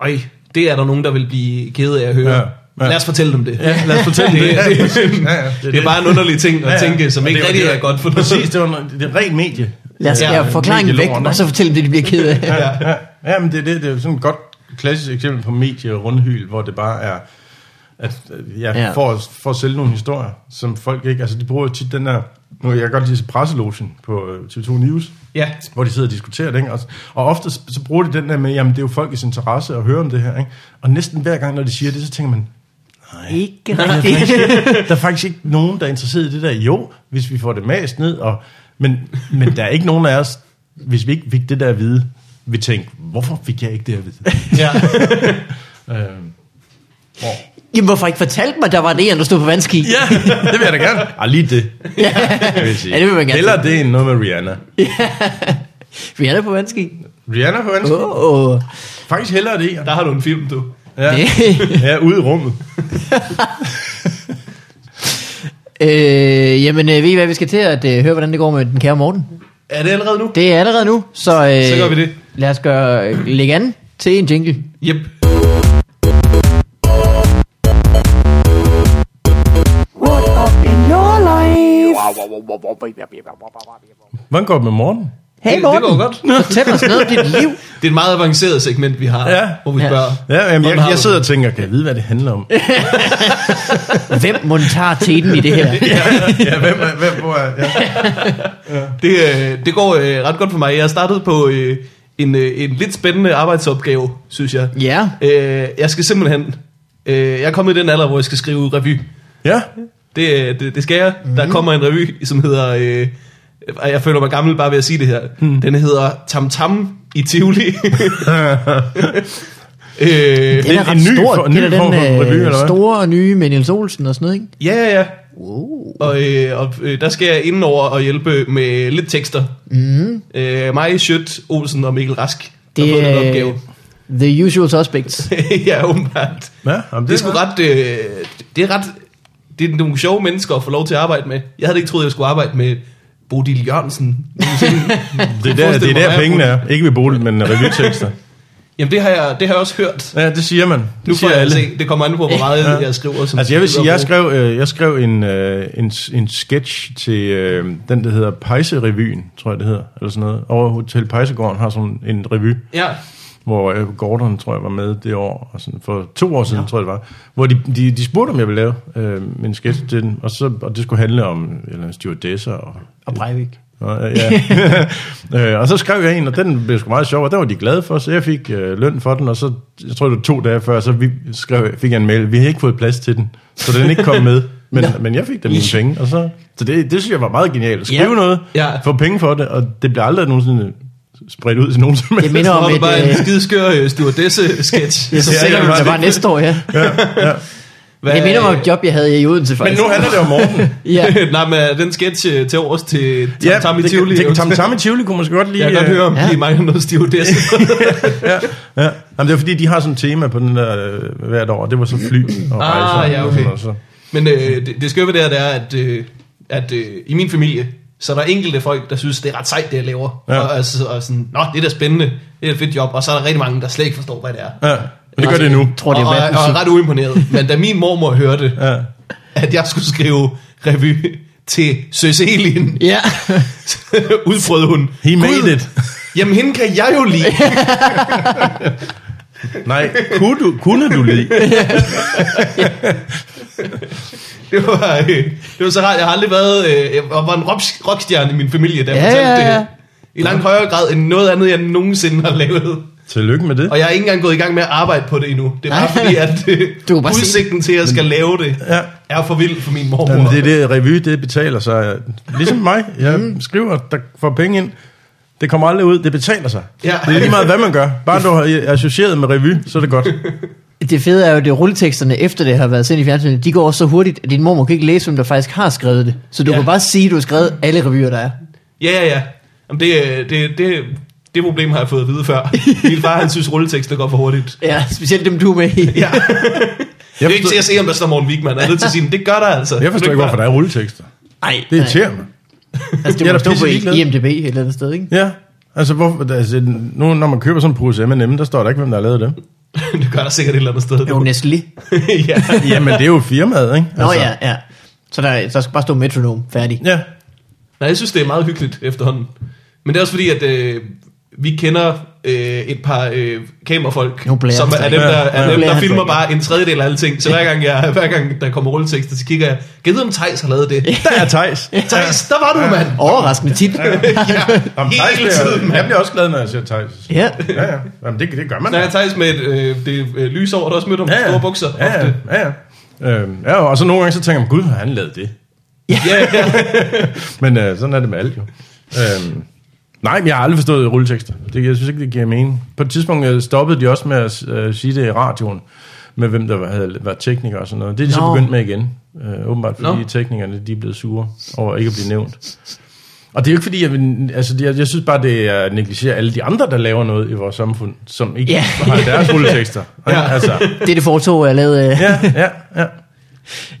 øj, Det er der nogen, der vil blive kede af at høre.
Ja,
Ja,
ja.
ja. Lad os fortælle dem det.
Ja, lad os fortælle det. Ja,
Det, det, det,
ja, ja, det er
det, det
det.
er bare en underlig ting at ja, tænke, som
Og
ikke
det-
rigtig
det-
er godt for
Præcis, det var noget, det er ren medie.
Lad os
Ja,
ja, forklaringen væk,
medielort, ikke?
og så fortælle dem det, de bliver ked af.
Ja, ja. ja, men det er det. Det er jo sådan et godt klassisk eksempel på medie og rundhyl, hvor det bare er, at øh, ja,
Ja.
ja. For, at- for at sælge nogle historier, som folk ikke, altså de bruger jo tit den der, nu kan jeg kan godt lide presselogen på øh, TV2 News,
Ja.
hvor de sidder og diskuterer det, ikke? Og, og ofte s- så bruger de den der med, jamen det er jo folkets interesse at høre om det her, ikke? og næsten hver gang, når de siger det, så tænker man,
Ikke rigtigt.
der er faktisk ikke nogen, der er interesseret i det der. Jo, hvis vi får det mast ned, og, men, men der er ikke nogen af os, hvis vi ikke fik det der at vide, vi tænkte, hvorfor fik jeg ikke det at vide?
ja.
øhm,
Jamen, hvorfor ikke fortalt mig, der var det, der stod på vandski?
ja, det vil jeg da gerne. Ah, lige det. vil jeg sige.
Ja, det vil man gerne.
Hellere det end noget med Rihanna.
Vi er der på vandski.
Rihanna på venstre.
Åh, oh, oh.
Faktisk hellere det.
Der har du en film, du.
Ja, ja ude i rummet.
øh, jamen, øh, ved I hvad, vi skal til at øh, høre, hvordan det går med den kære Morten.
Er det allerede nu?
Det er allerede nu, så, øh,
Så gør vi det.
Lad os gøre, øh, lægge an til en jingle.
Yep.
What up in your life?
Hvordan går det med morgen?
Hey
det
Morten,
går godt.
fortæl os noget om dit liv.
Det er et meget avanceret segment, vi har,
Ja.
ja. hvor vi
Ja.
spørger.
Ja, jamen,
"Hvordan har
jeg, jeg
du
sidder
det?"
og tænker, kan jeg vide, hvad det handler om?
Hvem mon tager teten i det her?
ja, hvem, er- hvem, hvor er, ja.
Det, øh, det går øh, ret godt for mig. Jeg startede på øh, en, øh, en lidt spændende arbejdsopgave, synes jeg.
Ja.
Øh, jeg skal simpelthen... Øh, jeg er kommet i den alder, hvor jeg skal skrive revy.
ja.
Det, øh, det, det skal jeg. Mm. Der kommer en revy, som hedder... Øh, og jeg føler mig gammel bare ved at sige det her. Mm. Den hedder Tam Tam i Tivoli. øh,
Den er,
en
ret
ny
stor.
for-
det
ny
er da
form
den
for revy, eller hvad?
øh, store nye med Niels Olsen og sådan noget, ikke?
ja, ja, ja.
Wow.
Og, øh, og øh, der skal jeg indenover og hjælpe med lidt tekster. Mm. Øh, mig, Schødt, Olsen og Mikkel Rask. Det har fået
Det
den
er- øh,
opgave.
The usual suspects.
ja, åbenbart.
ja jamen,
Det er sgu ret... Øh, det er ret... Det er nogle sjove mennesker at få lov til at arbejde med. Jeg havde ikke troet, jeg skulle arbejde med Bodil Jørgensen.
Det er der, det er
Forestil mig,
der
hvor
pengene er. Ikke ved bolig, men revytekster.
Jamen, det har jeg, det har jeg også hørt.
Ja, det siger man. Det
Nu får
siger
jeg
alle.
altså se. Det kommer an på, hvor meget ja. jeg skriver. Som
Altså jeg vil sige, jeg
skriver.
skrev, øh, jeg skrev en, øh, en, en sketch til øh, den, der hedder Pejserevyen, tror jeg det hedder, eller sådan noget. Over Hotel Pejsegården har sådan en revy,
Ja,
hvor øh, Gordon, tror jeg, var med det år, og sådan, for to år siden, ja. tror jeg det var, hvor de, de, de spurgte, om jeg ville lave øh, en sketch til den, og, så, og det skulle handle om eller stewardesser og
Og Breivik.
Nå, øh, Ja. øh, og så skrev jeg en, og den blev sgu meget sjov, og den var de glade for, så jeg fik øh, løn for den, og så, jeg tror det var to dage før, så vi skrev, fik jeg en mail, vi har ikke fået plads til den, så den ikke kom med, men, men jeg fik da mine penge, og så, så det, det synes jeg var meget genialt, skrive
Ja.
noget,
Ja.
få penge for det, og det blev aldrig nogensinde spredt ud til nogen som helst.
minder
så
om
har
et,
du bare en
øh,
skideskør stewardesse-sketch.
Ja, så
Ja,
sælger
ja,
du
det
det
var
bare næste år, ja.
Hvad-
Det minder mig om et job, jeg havde i Odense,
Men
faktisk.
nu handler det om morgenen.
Ja.
Nej, men er den sketch øh, til års til Tam Tam i
det,
Tivoli.
det, det, Tam Tam i øh, Tivoli kunne måske godt lige...
Jeg kan godt høre, om
Ja.
ja. de mangler noget stewardesse.
Ja. Jamen, det er fordi, de har sådan et tema på den der øh, hvert år, og det var så fly og
Ah,
rejser.
ja,
og
okay.
sådan noget, så.
Men øh, det, det skøve ved det her, det er, at, øh, at øh, i min familie, så er der enkelte folk, der synes, det er ret sejt, det jeg laver.
Ja.
Ja. Og, altså, og sådan, nå, det er da spændende, det er et fedt job. Og så er der rigtig mange, der slet ikke forstår, hvad det er.
Ja, men det gør det nu.
Jeg tror, det er
og, og, og
verdensmusik.
er ret uimponeret. Men da min mormor hørte, ja.
Ja.
at jeg skulle skrive revy til Søs Elin,
Ja.
udbrød hun.
He made
"Gud,
it.
Jamen, hende kan jeg jo lide.
Nej, kunne du, kunne du lide?
Det var, øh, det var så rart. Jeg har aldrig været... Øh, jeg var en rock- rockstjerne i min familie, da jeg
Ja,
fortalte
ja,
det
ja.
her. I langt højere grad end noget andet, jeg nogensinde har lavet.
Tillykke med det.
Og jeg er ikke engang gået i gang med at arbejde på det endnu. Det er bare
Nej.
fordi, at øh,
Du kan bare se-
udsigten til, at jeg skal lave det,
Ja.
er for vild for min mormor.
Jamen, det er det, revy, det betaler sig. Ligesom mig, jeg skriver, der får penge ind. Det kommer aldrig ud, det betaler sig.
Ja.
Det er lige meget, hvad man gør. Bare du er associeret med revy, så er det godt.
Det fede er jo, at rulleteksterne efter det har været sendt i fjernsynet, de går også så hurtigt, at din mormor kan ikke læse, hvem der faktisk har skrevet det. Så du
Ja.
kan bare sige, at du har skrevet alle revyer, der er.
Ja, ja, ja. Jamen, det, øh, det, det, det problem har jeg fået at vide før. Min far, han synes, rulletekster går for hurtigt.
Ja, specielt dem, du er med i.
Ja. Det er ikke
forstår-
til at se, om der står Morten Wigman. Jeg er nødt til at sige, det gør der altså.
Jeg forstår ikke, hvorfor der er rulletekster.
Nej,
Det irriterer mig.
Altså, det
Jeg er
må
da
stå på
pisseligeglad.
IMDB et eller andet sted, ikke?
Ja, altså, hvorfor, altså nu, når man køber sådan en pose M&M, der står der ikke, hvem der har lavet dem.
det gør der sikkert et eller andet sted.
Jo, Nestlé.
ja.
Jamen, det er jo firmaet, ikke?
Nå altså. ja, ja. Så der, der skal bare stå metronom færdig.
Ja,
Nej, jeg synes, det er meget hyggeligt efterhånden. Men det er også fordi, at øh, vi kender øh, et par øh, kamerafolk,
Nu blærer
som
han
er
sig.
dem, der,
Ja,
er
ja.
dem,
Blærer
der
han sig,
filmer
ja.
bare en tredjedel af alle ting. Så hver gang, jeg, hver gang der kommer rulletekster, så kigger jeg, kan jeg vide, om Thijs har lavet det?
der er Thijs.
Thijs, der var du, mand!
Overraskende tit.
Jamen,
Hele
Thijs
tiden,
bliver,
mand.
jeg bliver også glad, når jeg ser Thijs.
ja.
Ja, ja. Jamen, det, det gør man.
Nej,
da.
Thijs med et, øh, det øh, lys over, der også mødte om ja, store bukser.
Ja, ja,
ofte.
ja. ja. Øhm, ja, og så nogle gange så tænker man, gud, har han lavet det?
ja, ja.
Men øh, sådan er det med alt jo. Øhm, nej, men jeg har aldrig forstået rulletekster. Det, jeg synes ikke, det giver mening. På et tidspunkt øh, stoppede de også med at øh, sige det i radioen, med hvem der var, havde, var tekniker og sådan noget. Det er de så
Nå.
begyndt med igen. Øh, åbenbart fordi
Nå.
no. teknikerne de er blevet sure over ikke at blive nævnt. Og det er jo ikke fordi, jeg, vil- altså, jeg, jeg synes bare, det er at negligere alle de andre, der laver noget i vores samfund, som ikke
Ja.
yeah. har deres rulletekster.
Ja.
ja. Altså,
Det er det foto, jeg lavede. øh,
ja, ja, ja.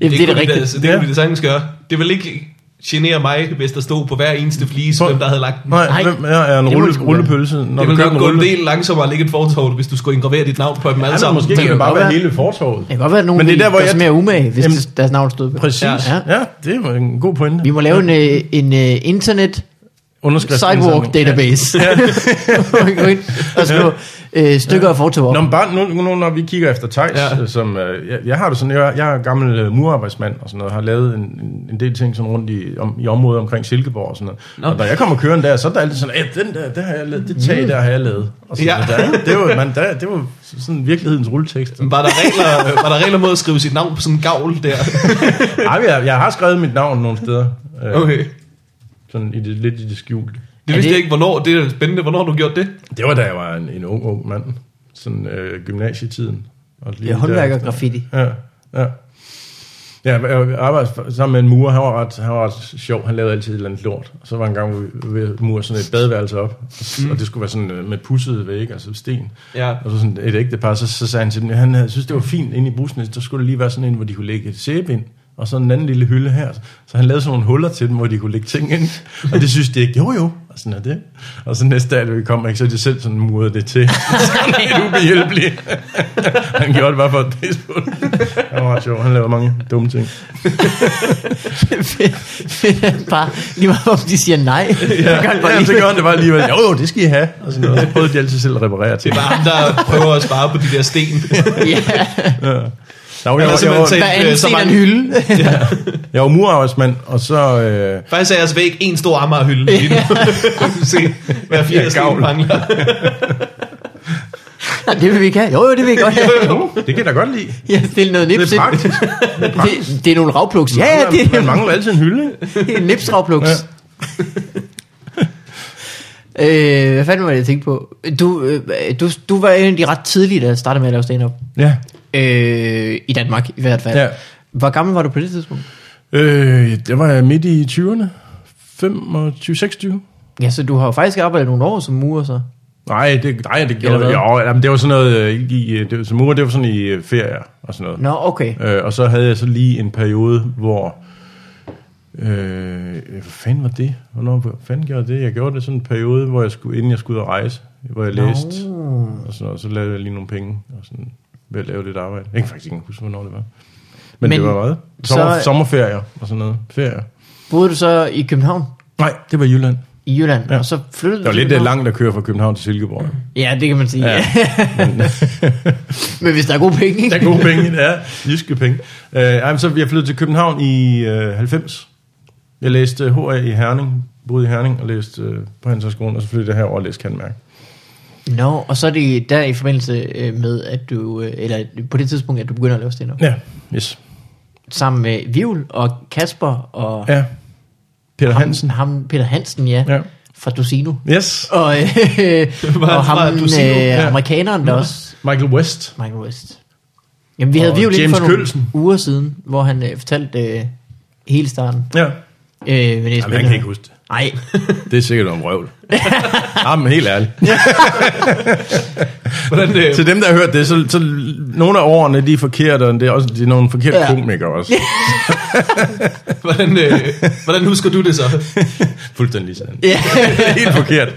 Jamen, det er det
kunne
rigtige.
altså, det, kunne
Ja.
det sagtens gøre. Det vil ikke genere mig, hvis der stod på hver eneste flise,
Prøv-
hvem der havde lagt den.
Nej,
Nej.
hvem er, er en
Det må
rulle,
sgu være.
rullepølse, når
det
du
ville
kører
nok
en
gå en
rulle?
del langsommere at lægge et fortov, hvis du skulle indgravere dit navn på dem alle
Ja, men
sammen.
Altså, måske
Det
kan
kan
det bare
godt
være
være.
hele fortorvet.
Det kan godt være, at nogen
Men det er der, hvor
gør
jeg-
sig mere umage, hvis
Jamen-
Jamen, deres navn stod på.
Præcis.
Ja.
Ja. ja, det er en god pointe.
Vi må lave en, øh, en uh, internet
Underskrift.
sidewalk database. Ja. Gå ind og slå øh, stykker af foto op.
Nå, men bare nu, nu, når vi kigger efter Thijs,
Ja.
ja. som, øh, jeg, jeg har det sådan, jeg, jeg er gammel øh, murarbejdsmand og sådan noget, har lavet en, en, en del ting sådan rundt i, om, i området omkring Silkeborg og sådan noget.
Nå.
Nå. Og da jeg kommer kørende der, så er der altid sådan, "Ja, den der, det har jeg lavet, det
Mm.
tag der har jeg lavet. Og sådan
Ja.
noget. der, er- det var, man, der, det var sådan virkelighedens rulletekst.
Var der, regler, øh, var der regler mod at skrive sit navn på sådan en gavl der?
Ej, jeg, jeg har skrevet mit navn nogle steder. Øh,
Okay.
Sådan i det, lidt i det skjulte.
Det
Er
vidste
det-
jeg ikke, hvornår. Det er spændende. Hvornår har du gjort det?
Det var da jeg var en, en ung, ung mand. Sådan øh, gymnasietiden. Og lige
Det er håndværker graffiti.
Ja, ja. Ja, jeg arbejdede sammen med en mur, han var, ret, han var ret sjov, han lavede altid et eller andet lort. Og så var en gang, hvor vi- vi murede sådan et badeværelse op, mm. og det skulle være sådan øh, med pudsede vægge, altså sten.
Ja.
Og så sådan et ægte par, så, så sagde han til dem, han havde, synes, det var fint inde i bussen, så skulle der lige være sådan en, hvor de kunne lægge et sæbe ind, og så en anden lille hylde her. Så han lavede sådan nogle huller til dem, hvor de kunne lægge ting ind. Og det synes de ikke, jo jo, og sådan er det. Og så næste dag, da vi kom, ikke, så de selv sådan murede det til. Sådan helt ubehjælpelig. han gjorde det bare for at pisse på det. Han var ret sjov, oh, han lavede mange dumme ting.
bare lige meget, om de siger nej. Ja, det gør han bare
Ja,
lige.
så gjorde han det bare alligevel, jo jo, det skal I have. Og sådan noget. Så prøvede de altid selv at reparere
Det
ting.
er bare ham, der prøver at spare på de der sten.
Ja.
Der var, jeg,
Han er
var, jeg,
simpelthen
var,
til-
Hver anden
Øh, så
sten er en
mange-
hylde.
jeg var murarbejdsmand, og så... Øh,
Faktisk er jeres væg en stor Amagerhylde lige nu. Du kan se, hvad
Ja,
fire sten
gavl.
mangler.
Ja, det vil vi ikke have. Jo, jo, det vil vi godt have.
jo, det kan jeg da godt lide.
Jeg stille noget nips
Det er
ind.
praktisk.
Det, det er nogle ravplugs. Ja, ja, det
det Man
er
mangler altid en hylde. ikke?
en nipsravplugs.
Ja.
øh, hvad fanden var det, jeg tænkte på? Du, øh, du, du var egentlig ret tidlig, da jeg startede med at lave stand-up.
Ja.
Øh, I Danmark, i hvert fald.
Ja.
Hvor gammel var du på det tidspunkt?
Øh, det var jeg midt i 20'erne. 25, 26.
Ja, så du har jo faktisk arbejdet nogle år som murer, så.
Nej, det, nej, det
Eller
gjorde
hvad?
jeg. Jo, jamen, det var sådan noget, øh, i, øh, det var, som mur, det var sådan i øh, ferier og sådan noget.
Nå, okay.
Øh, og så havde jeg så lige en periode, hvor... Øh, hvad fanden var det? Hvornår hvor fanden gjorde jeg det? Jeg gjorde det sådan en periode, hvor jeg skulle, inden jeg skulle ud og rejse, hvor jeg læste. Og sådan, noget, så lavede jeg lige nogle penge og sådan, ved at lave lidt arbejde. Jeg kan faktisk ikke huske, hvornår det var. Men,
Men
Men det var hvad? Sommer,
så-
sommerferier og sådan noget. Ferier.
Boede du så i København?
Nej, det var Jylland.
I Jylland? Ja.
Ja.
Og så flyttede
Det var
du
lidt
til
øh,
København?
langt at køre fra København til Silkeborg.
Ja, det kan man sige. Ja.
Ja.
Men hvis der er gode penge,
Der
ikke?
er gode penge, det er jyske penge. Øh, ej, men så jeg flyttede til København i øh, 90. Jeg læste HA i Herning, boede i Herning og læste øh, på Handelshøjskolen, og så flyttede jeg herover og læste Kandmærk.
Nå, og så er det der i forbindelse øh, med, at du, øh, eller på det tidspunkt, at du begynder at lave stand
Ja, yes.
Sammen med Vivl og Kasper og
Ja. Peter
ham,
Hansen.
ham, Peter Hansen, ja, ja.
Ja.
fra Dosino.
Yes.
Og, øh,
Var
og
han fra
ham,
Dosino?
øh,
Ja.
amerikaneren der også,
Michael West.
Michael West. Jamen, vi havde
Og
Vivl inden
James
for nogle
Kølsen.
uger siden, hvor han øh, fortalte øh, hele starten.
Ja.
Øh, men det er
Jamen, jeg kan ikke huske det.
Nej,
Det er sikkert om røvl. Jamen, helt ærligt.
Hvordan, øh,
Til dem, der har hørt det, så, så nogle af årene, de er forkerte, og det er, også, de er nogle forkerte
Ja.
ja. komikere også.
hvordan, øh, hvordan husker du det så?
Fuldstændig sandt.
Ja.
Helt forkert.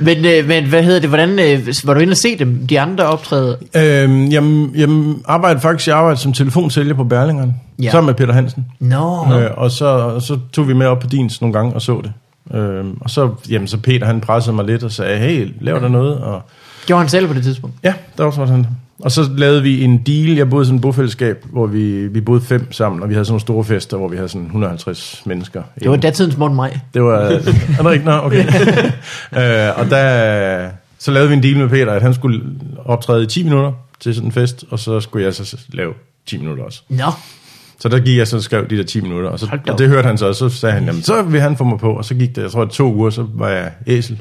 Men, øh, men hvad hedder det, hvordan, øh, var du inde og se dem, de andre optræde?
Øhm, jamen, jamen arbejde faktisk, jeg arbejder som telefonsælger på Berlingeren,
Ja.
ja. sammen med Peter Hansen.
Nå,
Øh, og så, og så tog vi med op på din nogle gange og så det. Øhm, og så, jamen, så Peter han pressede mig lidt og sagde, hey, lav der noget. Og,
gjorde han selv på det tidspunkt?
ja, der var sådan han. Og så lavede vi en deal. Jeg boede i sådan et bofællesskab, hvor vi, vi boede fem sammen, og vi havde sådan nogle store fester, hvor vi havde sådan 150 mennesker.
Det var datidens Morten Maj.
Det var... Er der ikke? Nå, okay. øh, og der, så lavede vi en deal med Peter, at han skulle optræde i 10 minutter til sådan en fest, og så skulle jeg så lave 10 minutter også.
Nå,
Så der gik jeg så og skrev de der 10 minutter, og, så,
Hold da op.
og det hørte han så, og så sagde han, jamen så vil han få mig på, og så gik det, jeg tror, to uger, så var jeg æsel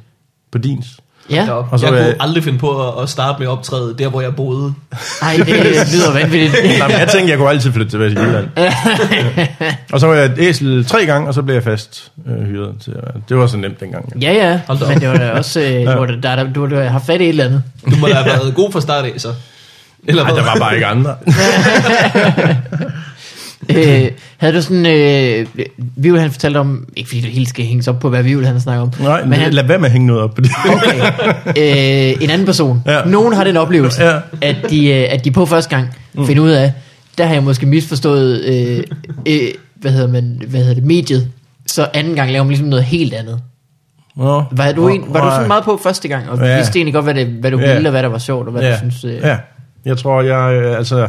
på dins.
ja.
Ja.
Og så øh,
jeg
var
kunne
jeg-
aldrig finde på at, at starte med optræde der, hvor jeg boede.
Ej, det lyder vanvittigt.
Nej, men jeg tænkte, jeg kunne altid flytte tilbage til Jylland. ja. Og så var jeg æsel tre gange, og så blev jeg fast øh, hyret. Til, at være- det var så nemt dengang. Ja.
Ja, ja,
Hold da op.
men det var da også, øh, ja. hvor der, der, der, du, du har fat i et eller andet.
Du må da have været god fra start af, så. Eller
Ej,
hvad?
der var bare ikke andre.
Øh, havde du sådan, øh, Vivel han fortalte om, ikke fordi det hele skal hænges op på, hvad Vivel han snakker om.
Nej,
men han,
lad være med at hænge noget op på det.
okay, øh, en anden person. Ja.
Ja.
Nogen har den oplevelse, ja.
Ja.
at, de, øh, at de på første gang mm. finder ud af, der har jeg måske misforstået, øh, øh, hvad, hedder man, hvad hedder det, mediet. Så anden gang laver man ligesom noget helt andet.
Nå,
Var du,
nå,
en, var du
nej.
sådan meget på første gang, og ja.
Ja.
vidste egentlig godt, hvad, det, hvad du
Ja.
ville, og hvad der var sjovt, og hvad du synes... Øh,
ja. Jeg tror, jeg, øh, altså,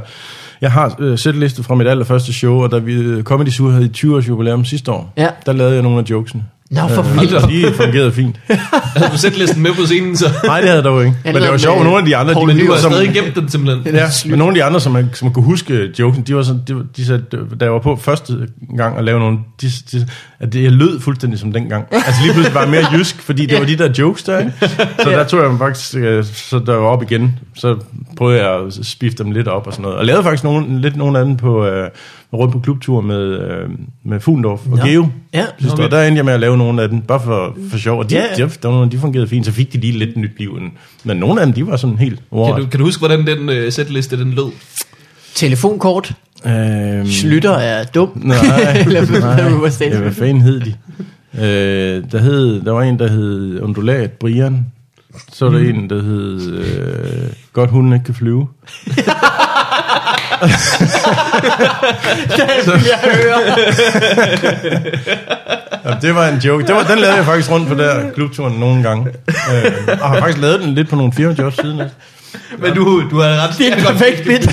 jeg har øh, sætliste fra mit allerførste show, og da vi øh, Comedy Zoo havde 20 års jubilæum sidste år,
Ja.
der lavede jeg nogle af jokesene.
Nå, for
Øh,
vildt.
og de fungerede fint.
Havde du sæt listen med på scenen, så.
Nej, det havde jeg dog ikke.
Ja, det
Men det
lavede
var sjovt,
med
nogle af de andre,
Poul
de,
Nyrup
Du
var
har
som,
stadig gemt den simpelthen.
ja, men nogle af de andre, som, man- som kunne huske joken, de var sådan, de, var- de sagde, da jeg var på første gang at lave nogle, de, de, at det, jeg lød fuldstændig som dengang. Altså lige pludselig var jeg mere jysk, fordi det var de der jokes der, ikke? Så der tog jeg dem faktisk, øh, så der var op igen, så prøvede jeg at spifte dem lidt op og sådan noget. Og lavede faktisk nogen, lidt nogen af dem på, øh, rundt på klubtur med, øh, med Fugendorf og
Nå.
Geo.
Ja,
Sidste år, der endte jeg med at lave nogle af dem, bare for, for sjov. Og de,
Ja, ja.
yeah. de, der var nogle, de fungerede fint, så fik de lige lidt nyt liv. end- Men nogle af dem, de var sådan helt
Kan
overrasket.
du, kan du huske, hvordan den øh, sætliste den lød?
Telefonkort.
Øhm,
Slytter er dum.
Nej,
Eller hvad- hvad var
nej.
det?
Ja, hvad fanden hed de? Øh, der, hed, der var en, der hed Undulat Brian. Så var
Mm.
der en, der hed øh, Godt hunden ikke kan flyve.
Jeg hører.
Jamen, det var en joke. Det var, den lavede jeg faktisk rundt på der klubturen nogle gange. Øh, og har faktisk lavet den lidt på nogle firmajobs siden. også.
Men du, du har ret.
Det er et perfekt bit.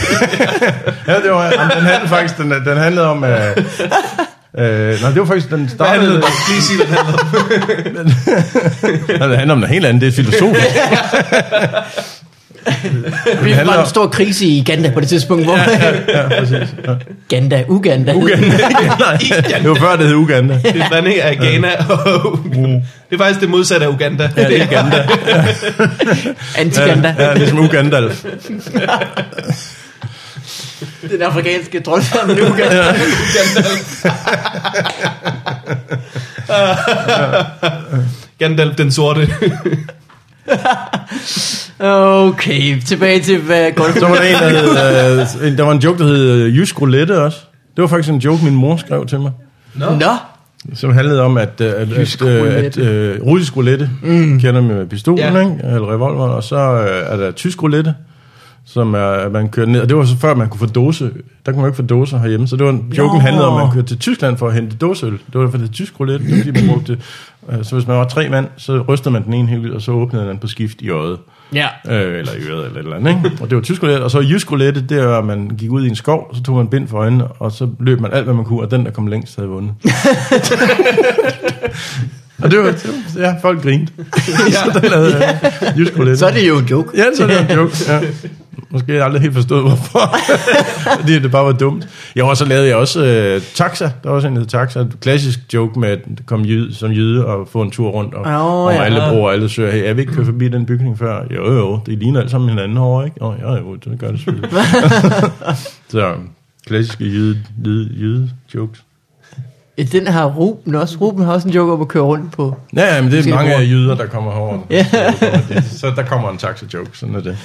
Ja, det var, jamen, den handlede faktisk den, den handlede om... Øh, øh, nej, det var faktisk, den
Hvad handlede
startede...
det? Lige sig, hvad det handlede om.
Nej, det handler om noget helt andet, det er filosofisk.
Vi
handler
var en
om-
stor krise i Uganda på det tidspunkt, hvor...
Ja, præcis. Ja.
Uganda, Uganda. hed
Uganda. Nej, det var før, det hed Uganda.
Det er en blanding af Ghana og... Det er faktisk det modsatte af Uganda.
Ja, det er Uganda.
Antiganda.
Ja, ja, ligesom Ugandalf.
Den afrikanske troldsammen Uganda.
Gandalf den sorte.
Okay, tilbage til hvad går
Så var der en, der, hed, øh, en- der var en joke, der hed øh, Jysk Roulette også. Det var faktisk en joke, min mor skrev til mig,
Nå,
som handlede om, at, øh, at,
Jysk
at, øh, at
roulette.
øh, russisk roulette mm. kender man med pistolen,
Ja.
ja. ikke? eller revolver, og så øh, er der tysk roulette, som er, at man kører ned. Og det var så før, man kunne få dåse. Der kunne man ikke få dåser herhjemme. Så det var, joken
Nå.
handlede om, at man kørte til Tyskland for at hente dåseøl. Det var for det tysk roulette, det var, fordi man brugte. øh, Så hvis man var tre mand, så rystede man den ene helt vildt, og så åbnede man den på skift i øjet.
ja.
Øh, eller i øret, eller et eller andet, ikke? Og det var tysk roulette. Og så jysk roulette, det var, at man gik ud i en skov, så tog man bind for øjnene, og så løb man alt, hvad man kunne, og den, der kom længst, havde vundet. og det var, det var, ja, folk grinte. så der lavede jeg jysk roulette.
Så er det jo en joke.
Ja, så er det var en joke, ja. Måske har jeg aldrig helt forstået, hvorfor. Fordi det bare var dumt. Jo, og så lavede jeg også øh, taxa. Der var også en, der hed taxa. En klassisk joke med at komme jyde, som jyde og få en tur rundt. Og,
Åh,
og
ja.
alle bruger alle søger. Hey, er vi ikke kørt forbi den bygning før? Jo, jo, det ligner alt sammen hinanden over, ikke? Åh, jo, jo, det gør det selvfølgelig. så klassiske jyde, jyde, jyde jokes.
Den har Ruben også. Ruben har også en joke om at køre rundt på.
Ja, ja, men det
Måske
er mange
bruger-
jyder, der kommer herover.
Ja.
Så der kommer en taxa-joke, sådan er det.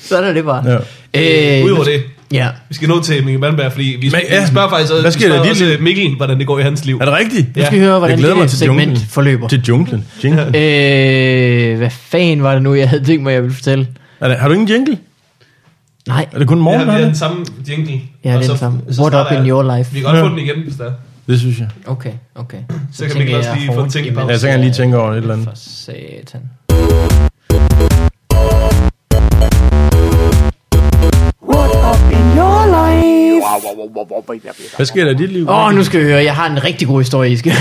Sådan er det bare.
Ja.
Øh,
Udover det,
Ja.
Vi skal nå til Mikkel Malmberg, fordi vi,
Men,
Men,
ja.
ja, vi spørger faktisk også,
Hvad
vi
sker der
spørger
lige
også
lidt?
Mikkel, hvordan det går i hans liv.
Er det rigtigt?
Nu skal vi høre, hvordan
Jeg glæder mig
det
til
segment
junglen.
forløber.
Til junglen. Jingle.
Øh, hvad fanden var det nu, jeg havde tænkt mig, jeg ville fortælle?
Er det, har du ingen jingle?
Nej,
Er det kun
Ja,
morgen?
vi
Ja,
har
det?
den samme jingle.
Ja,
og
det er den samme. What
starter
up in
jeg-
your life?
Vi kan godt
Ja.
få den igen, hvis der er.
det synes jeg.
okay, okay.
Så kan
tænker
Mikkel også
jeg
lige få
hårdt
tænkt
imens,
pause.
Ja, så kan jeg lige tænke over et eller
øh,
andet.
For satan.
What up in your life?
Hvad sker der i dit liv?
Åh, oh, nu skal vi høre, jeg har en rigtig god historie, I skal.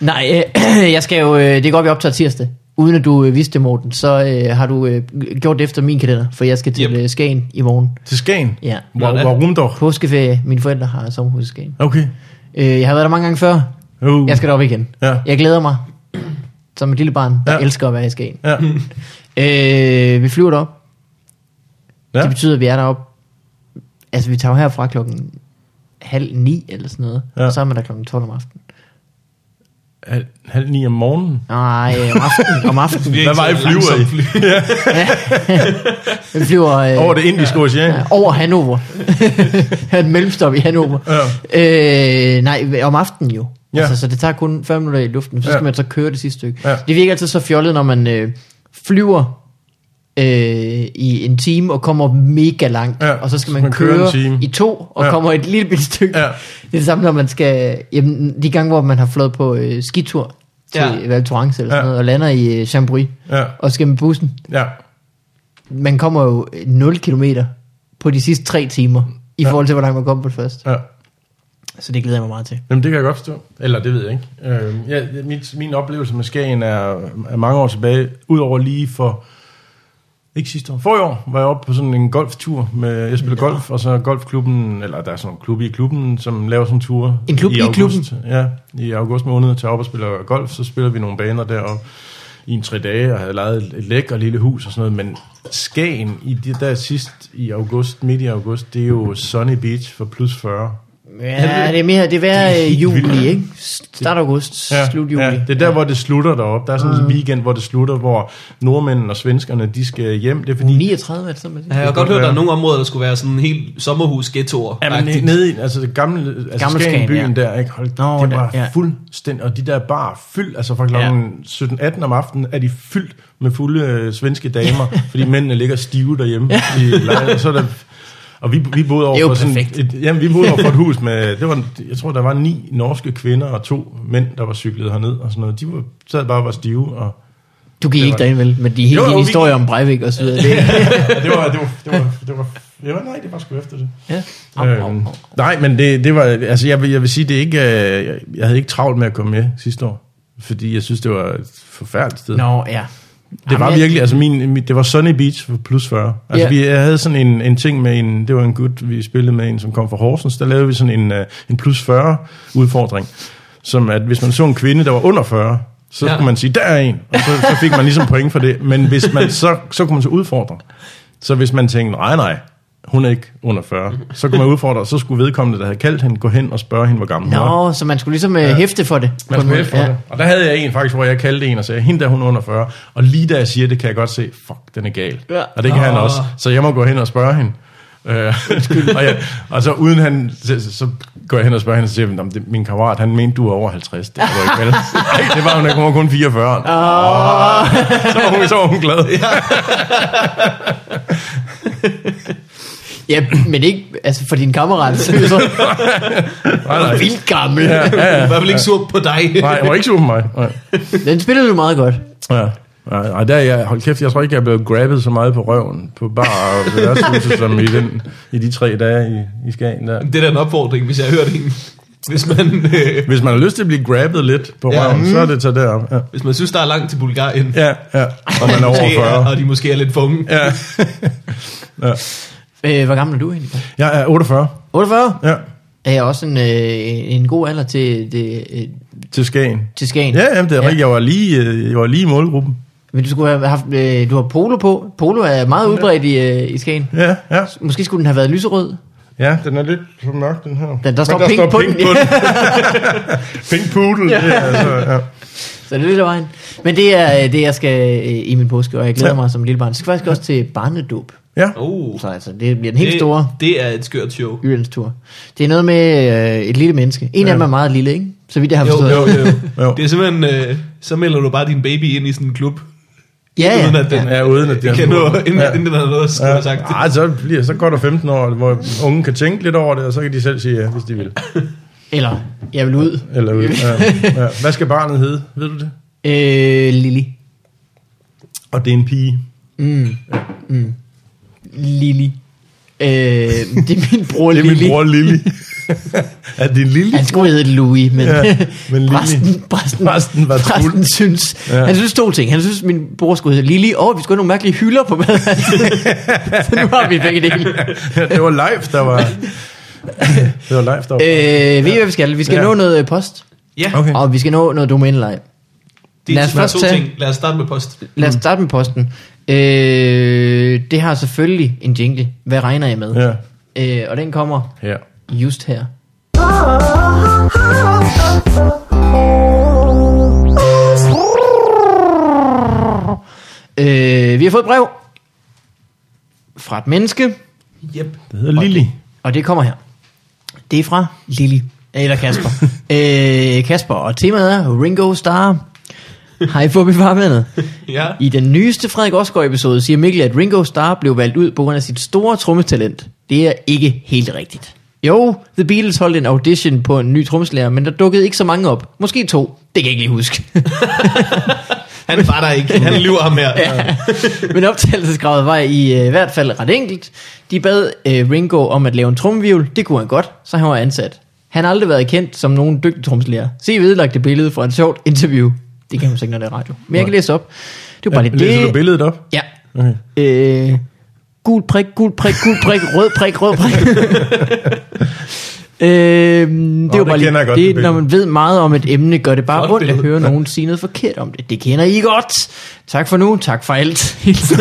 Nej, øh, jeg skal jo, øh, det går op, vi optager tirsdag. Uden at du øh, vidste det, Morten, så øh, har du øh, gjort det efter min kalender, for jeg skal til
Yep.
yep. øh, Skagen i morgen.
Til Skagen?
Ja.
Hvor,
Nå, da.
hvor rumdog?
Påskeferie, mine forældre har sommerhus i Skagen.
Okay.
Øh, jeg har været der mange gange før,
Uh.
jeg skal derop igen.
Ja.
Jeg glæder mig, som et lille barn, der
Ja.
ja. elsker at være i Skagen.
Ja.
Øh, vi flyver derop. Ja.
Ja.
Det betyder, at vi er deroppe. Altså, vi tager jo herfra klokken halv ni eller sådan noget.
Ja.
Ja. Og så er man der klokken 12 om aftenen.
Halv, halv ni om morgenen.
Nej, øh, om aftenen. Om aftenen.
Hvad var I flyver i?
Vi flyver øh,
Over det indiske ocean?
ja, over Hannover. Her er et mellemstop i Hannover. Ja. Øh, nej, om aftenen jo.
Ja.
Ja. Altså, så det tager kun 5 minutter i luften. Så skal
Ja.
ja. man så køre det sidste stykke.
Ja.
Ja. Det virker altid så fjollet, når man øh, flyver øh, i en time og kommer mega langt.
Ja,
Og så skal
så
man,
man kører en
køre
time.
i to og
Ja.
ja. kommer et lille bitte stykke.
Ja.
Det er det samme, når man skal... Jamen, de gange, hvor man har flået på øh, skitur til
Ja.
ja. Val Thorens eller sådan ja.
Ja.
noget, og lander i øh, Chambry
Ja.
og skal med bussen.
Ja.
man kommer jo 0 km på de sidste 3 timer, i
Ja.
ja. forhold til, hvor langt man kom på det første.
ja.
Så det glæder jeg mig meget til.
Jamen, det kan jeg godt forstå. Eller, det ved jeg ikke. Øh, ja, mit, min oplevelse med Skagen er, er mange år tilbage. Udover lige for... Ikke sidste år. For i år var jeg oppe på sådan en golftur. Med, jeg spiller golf, og så golfklubben... Eller der er sådan en klub i klubben, som laver sådan en tur.
En klub i
august.
klubben?
Ja, i august måned tager jeg op og spiller golf. Så spiller vi nogle baner deroppe i en tre dage, og havde lejet et- et lækker lille hus og sådan noget, men Skagen i det der sidst i august, midt i august, det er jo Sunny Beach for plus 40.
Ja, det er mere, det er værre øh, juli, ikke? Start august, ja. Mm. slut juli.
Ja, det er der, hvor det slutter deroppe. Der er sådan en weekend, hvor det slutter, hvor nordmændene og svenskerne, de skal hjem. Det er fordi...
39 er det sådan, man
Ja,
siger.
jeg har godt hørt, at der er nogle områder, der skulle være sådan helt sommerhus-ghettoer.
Jamen, nede i altså det gamle, altså gamle
Gamle
Skagen,
Skagen,
byen
ja.
der, ikke? Hold,
Nå,
det
der,
var
ja.
fuldstændig, og de der bar fyldt, altså fra kl.
Ja.
17-18 om aftenen, er de fyldt med fulde øh, svenske damer, fordi mændene ligger stive derhjemme i lejren, og så er der, og vi, vi boede over
Det er jo
for sådan
perfekt.
et, jamen, vi boede over for et hus med, det var, jeg tror, der var ni norske kvinder og to mænd, der var cyklet herned og sådan noget. De var, sad bare og var stive, og
Du gik ikke
var-
derind, vel? Men de hele
Jo, jo,
dine
vi-
historier om Breivik og så videre. Det, er-
ja, det var, det var, det var, det var, det var, nej, det var sgu efter det.
ja. Au, au,
Øhm,
au.
nej, men det, det var, altså jeg vil, jeg vil sige, det er ikke, øh, jeg, jeg havde ikke travlt med at komme med sidste år, fordi jeg synes, det var et forfærdeligt sted. No.
Nå, ja.
Det var
Jamen, jeg-
virkelig, altså min, min, det var Sunny Beach for plus 40. Altså
Ja.
vi, jeg havde sådan en, en ting med en, det var en gut, vi spillede med en, som kom fra Horsens, der lavede vi sådan en, øh, en plus 40 udfordring, som at hvis man så en kvinde, der var under 40, så
Ja.
ja. skulle man sige, der er en, og så, så fik man ligesom point for det, men hvis man, så, så kunne man så udfordre. Så hvis man tænkte, nej nej, hun er ikke under 40, så kunne man udfordre, så skulle vedkommende, der havde kaldt hende, gå hen og spørge hende, hvor gammel hun var.
Nå, så man skulle ligesom øh, hæfte for det. på
Man
en
skulle
måde.
efter ja.
Ja.
det. Og der havde jeg en faktisk, hvor jeg kaldte en og sagde, hende der hun er under 40. Og lige da jeg siger det, kan jeg godt se, fuck, den er gal.
Ja.
Og det kan han
Åh.
også. Så jeg må gå hen og spørge hende. Øh, og, jeg, og så uden han, så, så går jeg hen og spørger hende, og så siger, jeg, "Nå, men det, min kammerat, han mente, du er over 50. Det var ikke vel. Nej, det var hun, der var kun 44. Oh. Så, var hun, så var hun glad. Ja.
ja, men ikke altså for din kammerat. Så er det så
Nej, nej.
vildt gammel.
Ja, ja,
I
ja.
hvert fald ikke sur på dig.
Nej, hun var ikke sur på mig. Nej.
Den spillede du meget godt.
Ja. Nej, nej, der er jeg, hold kæft, jeg tror ikke, jeg er blevet grabbet så meget på røven på bar og værtshuset, som i, den, i de tre dage i, i Skagen der.
Det er da en opfordring, hvis jeg har hørt en. Hvis man, øh,
Hvis man har lyst til at blive grabbet lidt på
Ja.
røven, så er det så derop. Ja,
hvis man synes, der er langt til Bulgarien,
ja, ja. og man er
måske
over 40.
er, og de måske er lidt funge.
Ja.
Øh, hvor gammel er du egentlig?
Jeg er 48,
48?
ja,
Er jeg også en, øh, en god alder til, det, øh,
til Skagen.
til Skagen?
Ja, jamen, det er rigtigt. Jeg var lige, øh, jeg var lige i målgruppen.
Men du skulle have haft, øh, du har polo på. Polo er meget udbredt i, øh, i Skagen.
Ja, ja.
Måske skulle den have været lyserød.
Ja, den er lidt for mørk, den her.
Der, der
Men
står pink på den.
pink poodle. Ja. Det, er altså, ja.
Så Så det er lidt af vejen. Men det er øh, det, jeg skal øh, i min påske, og jeg glæder mig som lille barn. Jeg skal faktisk også til barnedåb.
Ja.
Oh,
Så altså, det bliver den helt store
Det, det er et skørt show.
Jyllands tur. Det er noget med øh, et lille menneske. En af dem er meget lille, ikke? Så vidt jeg har
Jo,
forstået.
jo, jo.
Jo.
Det er simpelthen, øh, så melder du bare din baby ind i sådan en klub,
Ja, ja.
uden at den
Ja, uden at
Det
har
kan nå,
spurgt.
inden, inden den har noget at skulle
Ja.
have sagt.
Nej, så, bliver, så går der 15 år, hvor unge kan tænke lidt over det, og så kan de selv sige ja, hvis de vil.
Eller, jeg vil ud.
Eller, ud. ja, ja. Hvad skal barnet hedde? Ved du det?
Øh, Lili.
Og det er en pige.
Mm. Mm. Lili. Øh, det er min bror
Det er
Lili.
min bror Lili. er det en Lili?
Altså-
Han skulle hedde Louis, men,
Ja, men Lili.
Præsten, præsten,
Præsten var travlt.
præsten synes,
Ja.
ja. han synes to ting. Han synes, min bror skulle hedde Lili, og vi skulle have nogle mærkelige hylder på mad. så nu har vi begge dele.
det var live, der var... Det var live, der var...
Øh, ved I, hvad vi skal? Vi skal
Ja.
ja. nå noget øh, post,
Ja,
Okay.
og vi skal nå noget domæneleje.
det
Lad
er
os
sådan
først
to
tage-
ting. Lad os starte med post.
Lad
Mm.
os starte med posten. Øh, det har selvfølgelig en jingle. Hvad regner jeg med?
Ja.
Øh, og den kommer
Her.
just her.
Ah,
Øh, vi har fået et brev fra et menneske,
Yep.
Det hedder Lili.
og det kommer her. Det er fra Lili, eller Kasper. øh, Kasper, og temaet er Ringo Starr. Hej Fubi Farvandet.
Ja.
I den nyeste Frederik Osgaard episode siger Mikkel, at Ringo Starr blev valgt ud på grund af sit store trommetalent. Det er ikke helt rigtigt. Jo, The Beatles holdt en audition på en ny trommeslager, men der dukkede ikke så mange op. Måske to. Det kan jeg ikke lige huske.
Han var der ikke. Han lyver ham her.
Ja. Men optagelseskravet var i øh, hvert fald ret enkelt. De bad øh, Ringo om at lave en tromvivl. Det kunne han godt, så han var ansat. Han har aldrig været kendt som nogen dygtig tromslærer. Se vedlagte billede fra et sjovt interview. Det kan man ikke, når det er radio. Men jeg kan læse op. Det var bare lidt
Læser du
det.
billedet op?
Ja.
Okay.
Øh, gul prik, gul prik, gul prik, rød prik, rød prik. Øhm, det
Nå,
var
det
bare lige,
kender jeg godt, det
det,
billede.
når man ved meget om et emne, gør det bare
Flot
Flot ondt at
billede.
høre nogen sige noget forkert om det. Det kender I godt. Tak for nu, tak for alt. Hilsen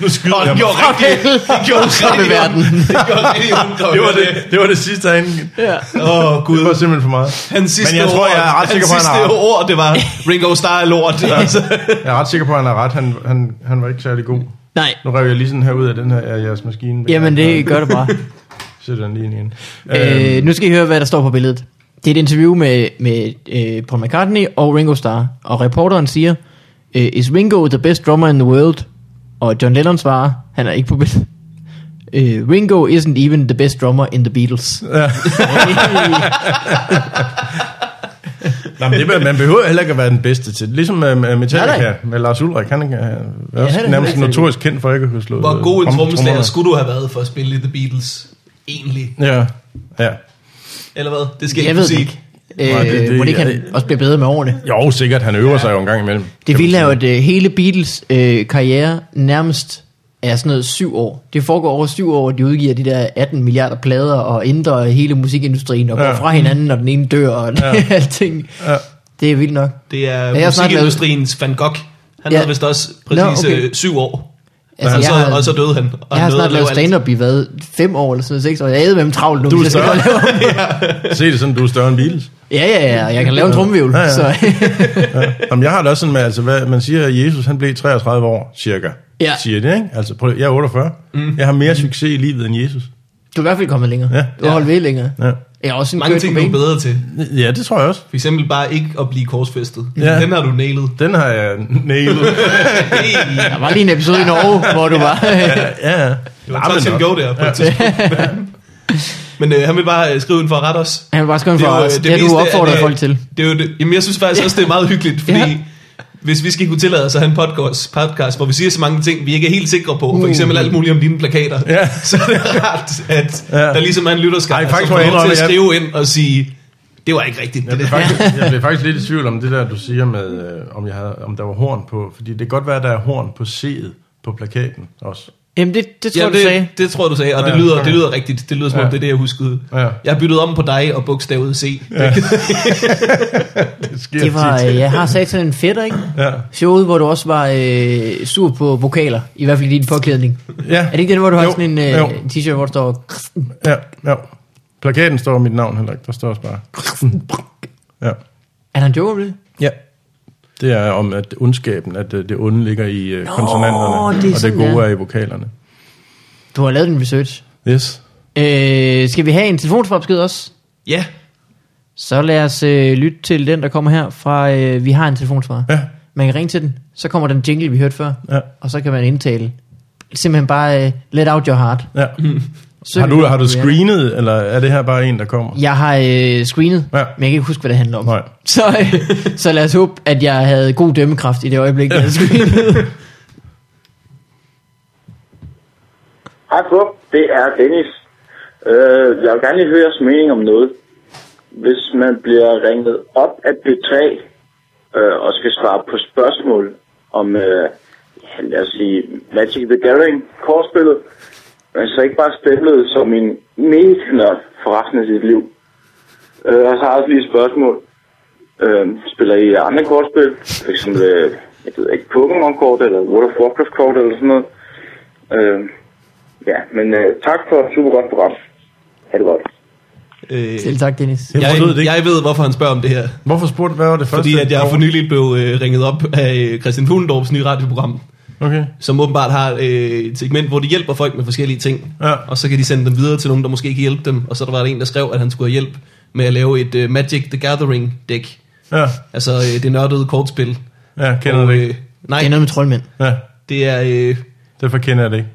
Nu skyder
Det gjorde rigtig, det gjorde rigtig
verden.
ondt. Det gjorde rigtig ondt.
Det var det, det var det sidste herinde.
Ja.
Åh, oh,
Det
Gud.
var simpelthen for meget.
Hans sidste
Men jeg
ord,
tror, jeg er ret sikker på,
hans
han har
sidste
ret.
ord, det var Ringo Starr er lort. Altså.
Jeg er ret sikker på, at han har ret. Han, han, han var ikke særlig god.
Nej,
Nu rev jeg lige sådan her ud af den her af jeres maskine.
jamen det gør det bare.
Sætter den lige ind igen. Øhm,
øh, nu skal I høre, hvad der står på billedet. Det er et interview med, med øh, Paul McCartney og Ringo Starr. Og reporteren siger, øh, Is Ringo the best drummer in the world? Og John Lennon svarer, han er ikke på billedet. Øh, Ringo isn't even the best drummer in the Beatles.
Ja. Nå, men det, man behøver heller ikke at være den bedste til. det. Ligesom med, med
Nej,
Metallica,
nej.
med Lars Ulrik, han er- er
han
også
er
ja,
heller
nærmest
ikke særlig
notorisk kendt for ikke at kunne slå
Hvor
øh,
god en
trom-
trommeslager
trommerne.
skulle du have været for at spille i The Beatles? Egentlig.
Ja, ja.
Eller hvad? Det skal jeg, ikke
Jeg ved
kunne
det
sige.
ikke. Øh,
Nej, det- det-
må det ikke han også blive bedre med årene?
Jo, sikkert, han øver sig jo en gang imellem.
Det vilde er jo, at øh, hele Beatles øh, karriere nærmest er sådan noget syv år. Det foregår over syv år, de udgiver de der 18 milliarder plader og ændrer hele musikindustrien og går
Ja.
fra hinanden, når den ene dør og
Ja.
alting.
Ja.
Det er vildt nok.
Det er
jeg har snart lavet-
musikindustriens Van Gogh. Han
Ja.
havde vist også præcis
Nå, okay.
øh, syv år.
Altså,
og,
jeg,
så,
har,
og så døde han. Og
jeg har
nåede
snart
at
lavet
lave alt.
stand-up i hvad? Fem år eller sådan noget, seks år. Jeg er med travlt nu.
Du er
hvis jeg skal
større.
lave-
Se det sådan, du er større end Beatles.
Ja, ja, ja. og Jeg kan lave en trumvivl.
Ja, ja.
Så,
Jamen, jeg har det også sådan med, altså, hvad, man siger, at Jesus han blev 33 år, cirka.
Ja.
Siger det, ikke? Altså, prøv, jeg er 48. Mm. Jeg har mere succes i livet end Jesus.
du er i hvert fald kommet længere.
Ja.
Du har holdt ved længere.
Ja,
Jeg er også en
Mange
kørt
ting,
på
du er
benen.
bedre til.
ja det tror jeg også.
For eksempel bare ikke at blive korsfæstet.
Ja.
Den har du nailet.
Den har jeg nailet.
Hey.
Der var lige en episode i Norge, hvor du var...
ja, ja.
Det var touch and go der på et tidspunkt. Men øh, han vil bare øh, skrive ind for at rette os.
Han vil bare skrive en for
jo, øh,
os. Det, det
meste
du
af
opfordrer
det-
folk til.
Det er jo det. Jamen, jeg synes faktisk også, det er meget hyggeligt, fordi
Ja.
hvis vi skal kunne tillade os at have en podcast, podcast, hvor vi siger så mange ting, vi ikke er helt sikre på, for eksempel alt muligt om dine plakater,
Uh. Ja.
så er det rart, at
Ja.
ja. der ligesom er en lytterskab,
Ej,
som
faktisk
får
må jeg
lov til at
indrømme,
skrive ind og sige, det var ikke rigtigt.
Jeg
Det
blev,
der.
faktisk, jeg blev faktisk lidt i tvivl om det der, du siger med, øh, om, jeg havde, om der var horn på. Fordi det kan godt være, at der er horn på C'et på plakaten også.
Jamen, det, det tror
Ja,
jeg, du sagde.
det, det tror jeg, du sagde, og det,
Ja,
lyder,
okay.
det lyder rigtigt. Det lyder som om,
Ja.
det er det, jeg huskede.
Ja.
Jeg har byttet om på dig og bogstavet C.
Det sker
Det var,
tit.
øh, jeg har sagt sådan en fætter, ikke?
Ja.
Showet, hvor du også var øh, sur på vokaler, i hvert fald i din påklædning.
ja.
Er det ikke den, hvor du har
Jo,
sådan en
jo.
øh, t-shirt, hvor der står... Christen?
Ja, ja. Plakaten står mit navn heller ikke. Der står også bare... Ja.
Er der en joke om det?
Ja.
Det er om, at ondskaben, at øh, det onde ligger i øh, konsonanterne,
det er
og det
sådan,
gode
ja.
er i vokalerne.
Du har lavet din research.
Yes.
Øh, skal vi have en telefonsvarbesked også?
Ja.
Så lad os øh, lytte til den, der kommer her fra... Øh, vi har en telefonsvar.
Ja.
Man kan ringe til den, så kommer den jingle, vi hørte før,
Ja.
og så kan man indtale. Simpelthen bare øh, let out your heart.
ja.
Søg
Har, du, har du
Ja.
screenet, eller er det her bare en, der kommer?
Jeg har øh, screenet, ja.
Ja.
men jeg kan ikke huske, hvad det handler om.
Nej.
Så, øh, så lad os håbe, at jeg havde god dømmekraft i det øjeblik, jeg havde screenet.
Hej Bob, det er Dennis. Øh, jeg vil gerne lige høre jeres mening om noget. Hvis man bliver ringet op af P3 øh, og skal svare på spørgsmål om, øh, ja, lad os sige, Magic the Gathering, kortspillet, men så ikke bare spillet som en mega for resten af sit liv. Øh, og så har jeg også lige et spørgsmål. Øh, spiller I andre kortspil? For eksempel, øh, jeg ved ikke, Pokémon-kort eller World of Warcraft-kort eller sådan noget? Øh, Ja, men øh, tak for et super godt program. Ha' det godt.
Øh,
Selv tak, Dennis.
Jeg forstod det
jeg,
ikke.
jeg ved, hvorfor han spørger om det her.
Hvorfor spurgte hvad var det første?
Fordi at jeg for nylig blev øh, ringet op af øh, Christian Fuglendorps nye radioprogram,
Okay.
som åbenbart har øh, et segment, hvor de hjælper folk med forskellige ting.
Ja.
Og så kan de sende dem videre til nogen, der måske kan hjælpe dem. Og så der var der en, der skrev, at han skulle have hjælp med at lave et øh, Magic the Gathering dæk.
Ja,
Altså øh, det nørdede kortspil.
ja kender det ikke.
øh, nej,
Det er noget med troldmænd.
Ja,
det er, øh,
derfor kender jeg det ikke.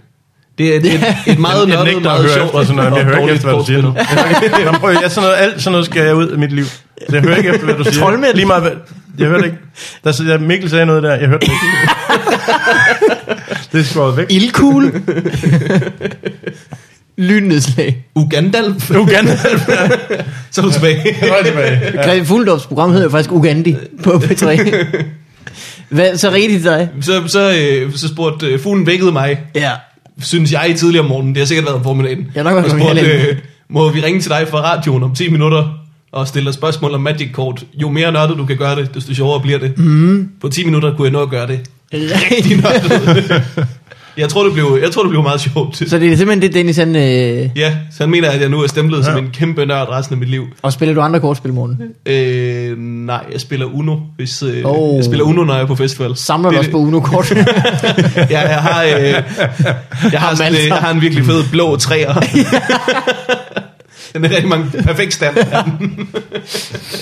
det er, det er et meget
jeg, jeg
nørdet,
nægter at
meget
høre
sjovt
efter sådan noget. men Jeg
og
hører ikke
dårligt
efter, hvad du siger nu.
kortspil.
Nå, prøv, jeg, sådan noget, alt sådan noget skal jeg ud af mit liv. Så jeg hører ikke efter, hvad du siger.
Troldmænd.
Lige meget, hvad, jeg hørte ikke. Der, så, Mikkel sagde noget der, jeg hørte det ikke. det er skåret væk.
Ildkugle. Lynnedslag.
Ugandalf,
Uganda.
så er du tilbage.
Jeg var tilbage.
Ja. Christian Fuldorps program hedder faktisk Ugandi på P3. Hvad, så rigtigt dig?
Så, så, øh, så spurgte øh, fuglen vækkede mig,
Ja.
synes jeg, tidligere om morgenen. Det har sikkert været om formiddagen.
Jeg er nok også
og
kommet
spurgte,
halv
øh, må vi ringe til dig fra radioen om 10 minutter og stille dig spørgsmål om Magic Kort. Jo mere nørdet du kan gøre det, desto sjovere bliver det.
Mhm.
Mm. På 10 minutter kunne jeg nå at gøre det.
Rigtig
Nørdet. jeg, tror, det blev, jeg tror, det blev meget sjovt.
Så det er simpelthen det, Dennis han... Øh,
Ja, så han mener, at jeg nu er stemplet ja. som en kæmpe nørd resten af mit liv.
og spiller du andre kortspil, morgen?
Øh, nej, jeg spiller Uno, hvis, øh,
Oh.
oh. jeg spiller Uno, når jeg er på festival.
Samler du
Det-
også på Uno-kort?
Ja, jeg har, øh, jeg, har sådan,
alle
øh, jeg
sammen.
har en virkelig fed blå træer. den er rigtig mange perfekt stand. Ja.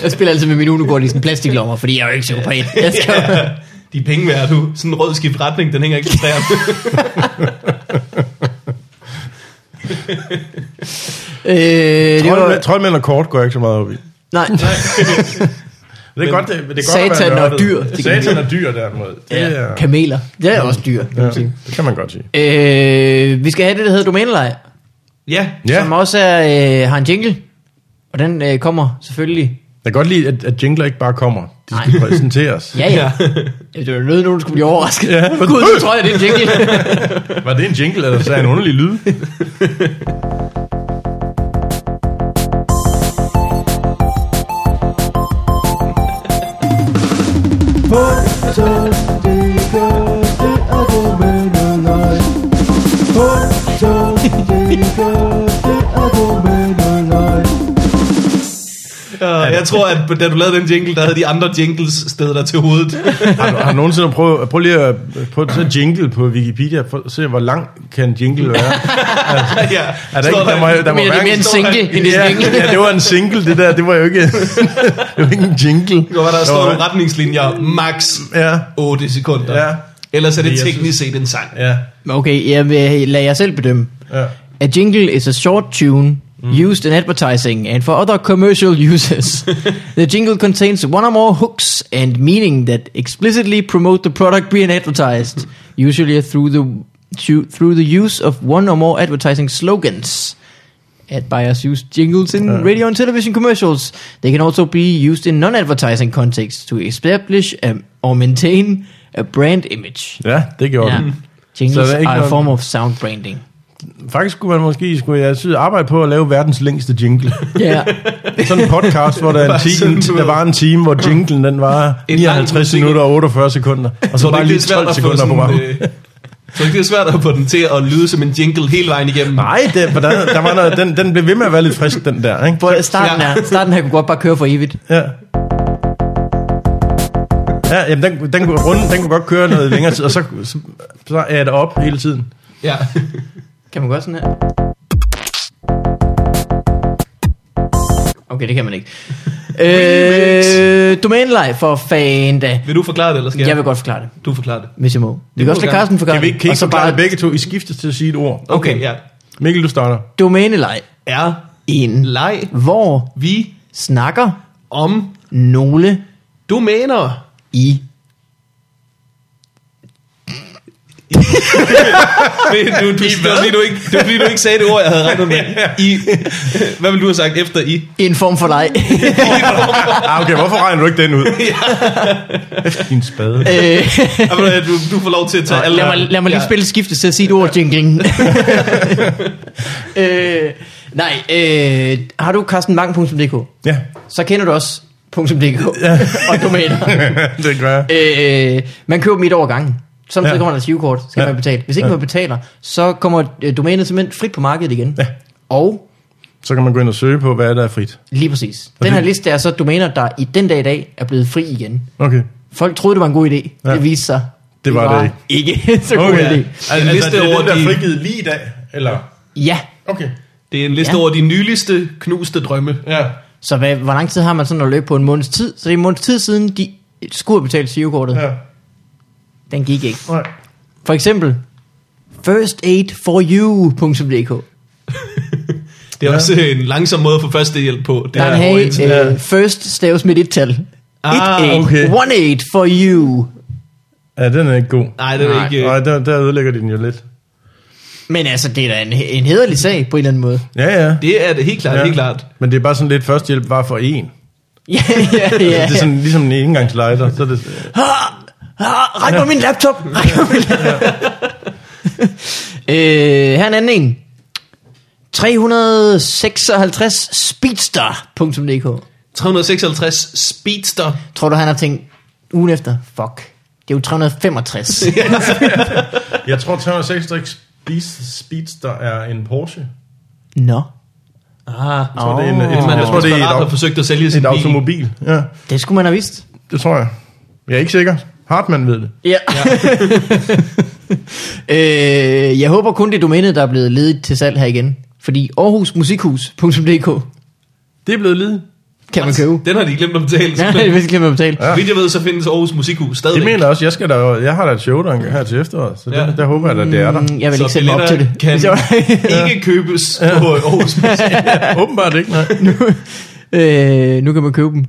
jeg spiller altid med min Uno-kort i sådan plastiklommer, fordi jeg er jo ikke psykopat. Øh, Jeg skal...
ja. De er penge værd, du. Sådan en rød skift retning, den hænger ikke til træerne.
øh, det var...
Troldmænd, troldmænd og kort går jeg ikke så meget op i. Det
Nej,
er godt, det, det er godt at
satan
være
og
nørdet.
dyr, det kan
Satan og dyr derimod. Det, er,
ja. kameler. Det er også dyr, kan man sige.
det kan man godt sige.
Øh, vi skal have det, der hedder domænelej,
ja,
ja.
Ja,
som også er, øh, har en jingle. Og den øh, kommer selvfølgelig...
jeg kan godt lide, at, at jingler ikke bare kommer. De skal præsenteres.
Ja, ja. ja. Det var nødt, nogen skulle blive overrasket.
Ja.
Gud, nu tror jeg, det er en jingle.
Var det en jingle, eller så er en underlig lyd?
og jeg tror, at da du lavede den jingle, der havde de andre jingles stedet dig til hovedet.
Har du, har du nogensinde prøvet, prøv lige at prøv at tage jingle på Wikipedia, for at se, hvor lang kan en jingle være.
ja,
Er der, ikke, der, må, der må
Men det er
være
mere en
står der-
single, end det er en jingle.
ja, ja, det var en single, det der. Det var jo ikke, det var ikke en jingle.
Det var, der står
var-
nogle retningslinjer, max
Ja,
8 sekunder.
Ja.
Ellers er det
Det er-
teknisk set en sang.
ja,
Okay, jeg vil, lad jer selv bedømme.
ja.
A jingle is a short tune used in advertising and for other commercial uses. the jingle contains one or more hooks and meaning that explicitly promote the product being advertised, usually through the through through the use of one or more advertising slogans. Ad buyers use jingles in radio and television commercials. They can also be used in non-advertising contexts to establish a, or maintain a brand image.
ja det gjorde ja.
Ja.
den. Så
Jingles
der er ikke
are a
noget-
form of sound branding.
Faktisk skulle man måske skulle jeg synes, arbejde på at lave verdens længste jingle.
Ja.
Sådan en podcast, hvor der, er en
Bare sådan,
time,
du ved.
der var en time, hvor jinglen den var
lang
59
musical.
minutter og 48 sekunder. Og så
Tror du
bare
ikke,
lige
det er svært
12
at få
sekunder på
sådan,
programmet.
øh, tror du ikke, det er svært at få den til at lyde som en jingle hele vejen igennem?
Nej, det, for der, der var noget, den, den blev ved med at være lidt frisk, den der. Ikke?
Hvor starten, er, starten her kunne godt bare køre for evigt.
Ja. Ja, jamen, den, den, kunne, runden, den kunne godt køre noget længere tid, og så, så, så er det op hele tiden.
Ja.
Kan man godt sådan her? Okay, det kan man ikke. øh, domænelej for fan da.
Vil du forklare det, eller skal jeg?
Jeg vil godt forklare det,
Du forklarer det.
hvis jeg må. Vi kan
må
også
du
lade
gerne.
Carsten forklare
Kan vi ikke
det,
kigge
og så bare
begge to? I skiftes til at sige et ord.
Okay, ja.
Mikkel, du starter.
domænelej
Er
en leg,
leg
hvor
vi
snakker
om
nogle
domæner?
i
Men du, du, det, var, fordi du ikke, det var fordi, du ikke sagde det ord, jeg havde regnet med. I, hvad ville du have sagt efter i?
en form for leg.
Ah, okay, hvorfor regner du ikke den ud? Din spade.
Øh,
Ja, ved du hvad, Du, du får lov til at tage alle...
lad, mig, lad mig lige
Ja.
spille skiftet til at sige et ord, jingling. øh, nej, øh, har du carstenbank.dk,
Ja,
så kender du også .dk og domæner.
det gør jeg.
Øh, man køber dem et år ad gangen. Samtidig
Ja.
ja. kommer der et givekort, skal
Ja.
ja. man betale. Hvis ikke
Ja.
ja. man betaler, så kommer øh, domænet simpelthen frit på markedet igen.
Ja.
Og
Så kan man gå ind og søge på, hvad der er frit.
lige præcis. Den her
det-
liste er så domæner, der i den dag i dag er blevet fri igen.
Okay.
Folk troede, det var en god idé.
Ja.
Ja. Det viste sig.
Det var det
ikke. ikke så god
Okay.
idé.
Altså,
liste
det er
over
den, der er
de-
frigivet lige i dag, eller?
Ja.
Okay.
Det er en liste ja.
Ja.
over de nyligste knuste drømme.
Ja.
Så hvad, hvor lang tid har man sådan at løbe på en måneds tid? Så det er en måneds tid siden, de skulle have betalt givekortet. Ja.
ja.
Den gik ikke.
Nej.
For eksempel, firstaidforyou.dk
Det er ja. også en langsom måde at få førstehjælp på. Det
Der
er
er
over
hey,
internet.
Ja.
uh, first staves med et tal.
Ah,
Ah,
okay.
okay. One eight for you.
Ja, den er ikke god.
Nej, det er
Nej.
ikke... øh,
Nej, der, der ødelægger de den jo lidt.
Men altså, det er da en, en hederlig sag på en eller anden måde.
Ja, ja.
Det er det helt klart,
ja.
ja. helt klart.
Men det er bare sådan lidt førstehjælp bare for én.
ja, ja,
Ja,
ja.
Det er sådan ligesom en engangslejder. Så er det,
Ah, ah, Ræk mig min laptop. Ræk mig min laptop. øh, her er en anden en. 356 speedster.dk
356 Speedster.
Tror du, han har tænkt ugen efter? Fuck. Det er jo 365.
jeg tror, 366 Speed- Speedster er en Porsche.
Nå.
Ah,
Jeg tror, det er
Åh.
en, et,
man
jeg
har
tror, det er et,
desperat har
au-
forsøgt at sælge sin
et
bil.
automobil. Ja,
Det skulle man have vidst.
det tror jeg. Jeg er ikke sikker. Hartmann ved det.
Ja. øh, jeg håber kun det domæne, der er blevet ledet til salg her igen. Fordi aarhusmusikhus.dk
Det er blevet lidt.
kan man købe.
Den har de glemt at betale.
Ja, det er vist glemt at betale.
Ja. Øh, Vidt jeg ved, så findes Aarhus Musikhus stadig.
Det mener jeg også. Jeg, skal der, jeg har da et show der engang her til efteråret, så
Ja.
ja. der, der håber jeg, at det er der.
Mm, Jeg vil ikke sætte mig op til det.
Kan
Hvis jeg-
ikke købes på Aarhus Musik.
Åbenbart ikke, nej.
øh, nu kan man købe dem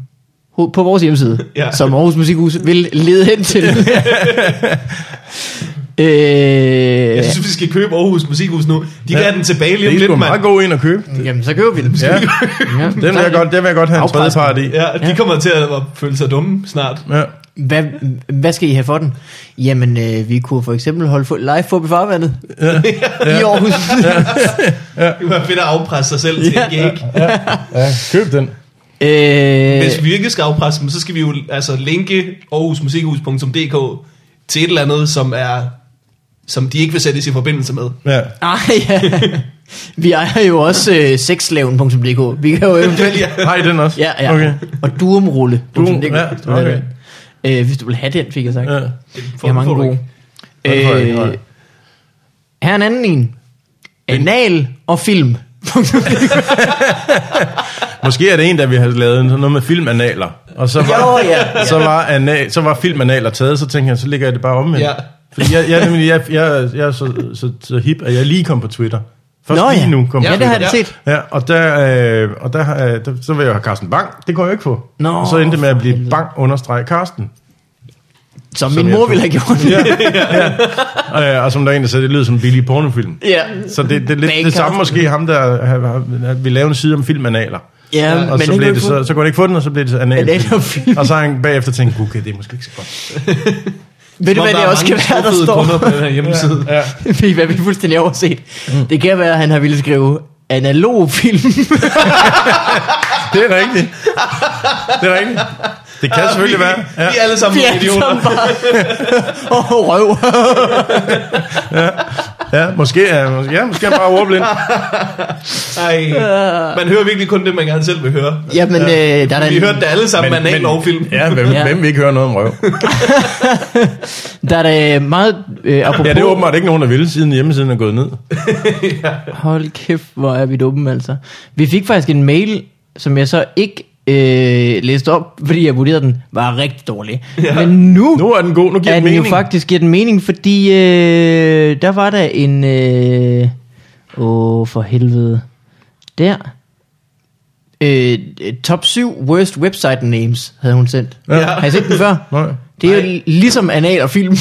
ho- på vores hjemmeside,
Ja.
ja. som Aarhus Musikhus vil lede hen til. øh,
Jeg synes, vi skal købe Aarhus Musikhus nu. De kan
Ja.
have den tilbage
Det
lige om
er sgu
lidt,
en meget
mand.
god en at købe.
jamen, så køber vi dem.
Ja,
Ja.
den vil jeg godt, den vil jeg godt have en tredje
Afpresning.
part i.
Ja, de kommer til at føle sig dumme snart.
Ja.
Hvad, hvad skal I have for den? Jamen, øh, vi kunne for eksempel holde fu- live forbi farvandet ja. i Aarhus.
Det kunne være fedt at afpresse sig selv til
Ja.
en gig.
ja, køb den.
Øh,
Hvis vi virkelig skal afpresse dem, så skal vi jo altså linke aarhusmusikhus.dk til et eller andet, som er som de ikke vil sættes i forbindelse med.
Ja.
ah, ja. Vi ejer jo også øh, sexslaven.dk. Vi kan jo eventuelt...
Ja.
Har I den også?
Ja, ja.
Okay.
Og durumrulle.
Durum, ja, okay.
øh, hvis du vil have den, fik jeg sagt.
Ja.
Ja. Jeg har mange gode.
Den får jeg ikke, nej.
Øh, her er en anden en. Anal og film.
Måske er det en, der vi har lavet en- sådan noget med filmanaler. Og så var,
Jo, ja.
så var, anal, så var filmanaler taget, så tænkte jeg, så ligger jeg det bare omvendt.
Ja.
Fordi jeg, jeg, er nemlig, jeg, jeg, jeg er så, så, så hip, at jeg lige kom på Twitter. Først
Nå,
lige
ja.
nu kom
ja,
på
det har
Twitter.
jeg da
Ja.
set.
Ja, og der, øh, og der, øh, der, så vil jeg have Carsten Bang. Det går jeg jo ikke på.
Nå,
og så endte det med at
for
blive
helvede.
Bang understreg Carsten.
Som,
Som
min
jeg
mor
tror.
ville have gjort.
Ja, ja. Øh, Og, og som der er en, der sagde, det lyder som en billig pornofilm.
ja.
Så det, det er lidt
Bang
det samme
Carsten.
måske ham, der har- har- vil lave en side om filmanaler.
Ja,
Ja, og
men
så,
den
blev
kunne
det,
ikke få-
så, så kunne han ikke få den, og så blev det så anal.
Analfilm.
og så har han bagefter tænkt, okay, det er måske ikke så godt.
Ved du,
Som om
hvad
der
det
er
også kan
mange
være, der
skuffede
står?
kunder på den her hjemmeside.
Ja.
Fordi hvad vi fuldstændig har overset. Det kan være, at han har ville skrive analog film.
Det er rigtigt. Det er rigtigt. Det kan selvfølgelig
vi,
være. Ja.
Vi er alle sammen
Vi er
nogle
alle sammen
idioter.
bare... Åh, oh, røv.
Ja, måske, ja, måske, ja, måske er han bare ordblind.
Ej, man hører virkelig kun det, man gerne selv vil høre.
Jamen, øh, der er da
Vi
en-
hørte det alle sammen, man er en lovfilm.
Ja, hvem,
Ja.
ja. hvem vil ikke høre noget om røv?
Der er da meget... Øh, apropos,
Ja, det er åbenbart ikke nogen, der vil, siden hjemmesiden er gået ned.
Hold kæft, hvor er vi dumme, altså. Vi fik faktisk en mail, som jeg så ikke øh, læste op, fordi jeg vurderede den var rigtig dårlig. Ja. Men nu,
Nu er den god, nu giver
er
det
den jo
mening.
faktisk giver den mening, fordi øh, der var der en... Øh, åh, for helvede. Der. Øh, top 7 worst website names havde hun sendt.
Ja.
Har I set den før?
Nej.
Det er jo ligesom anal og film.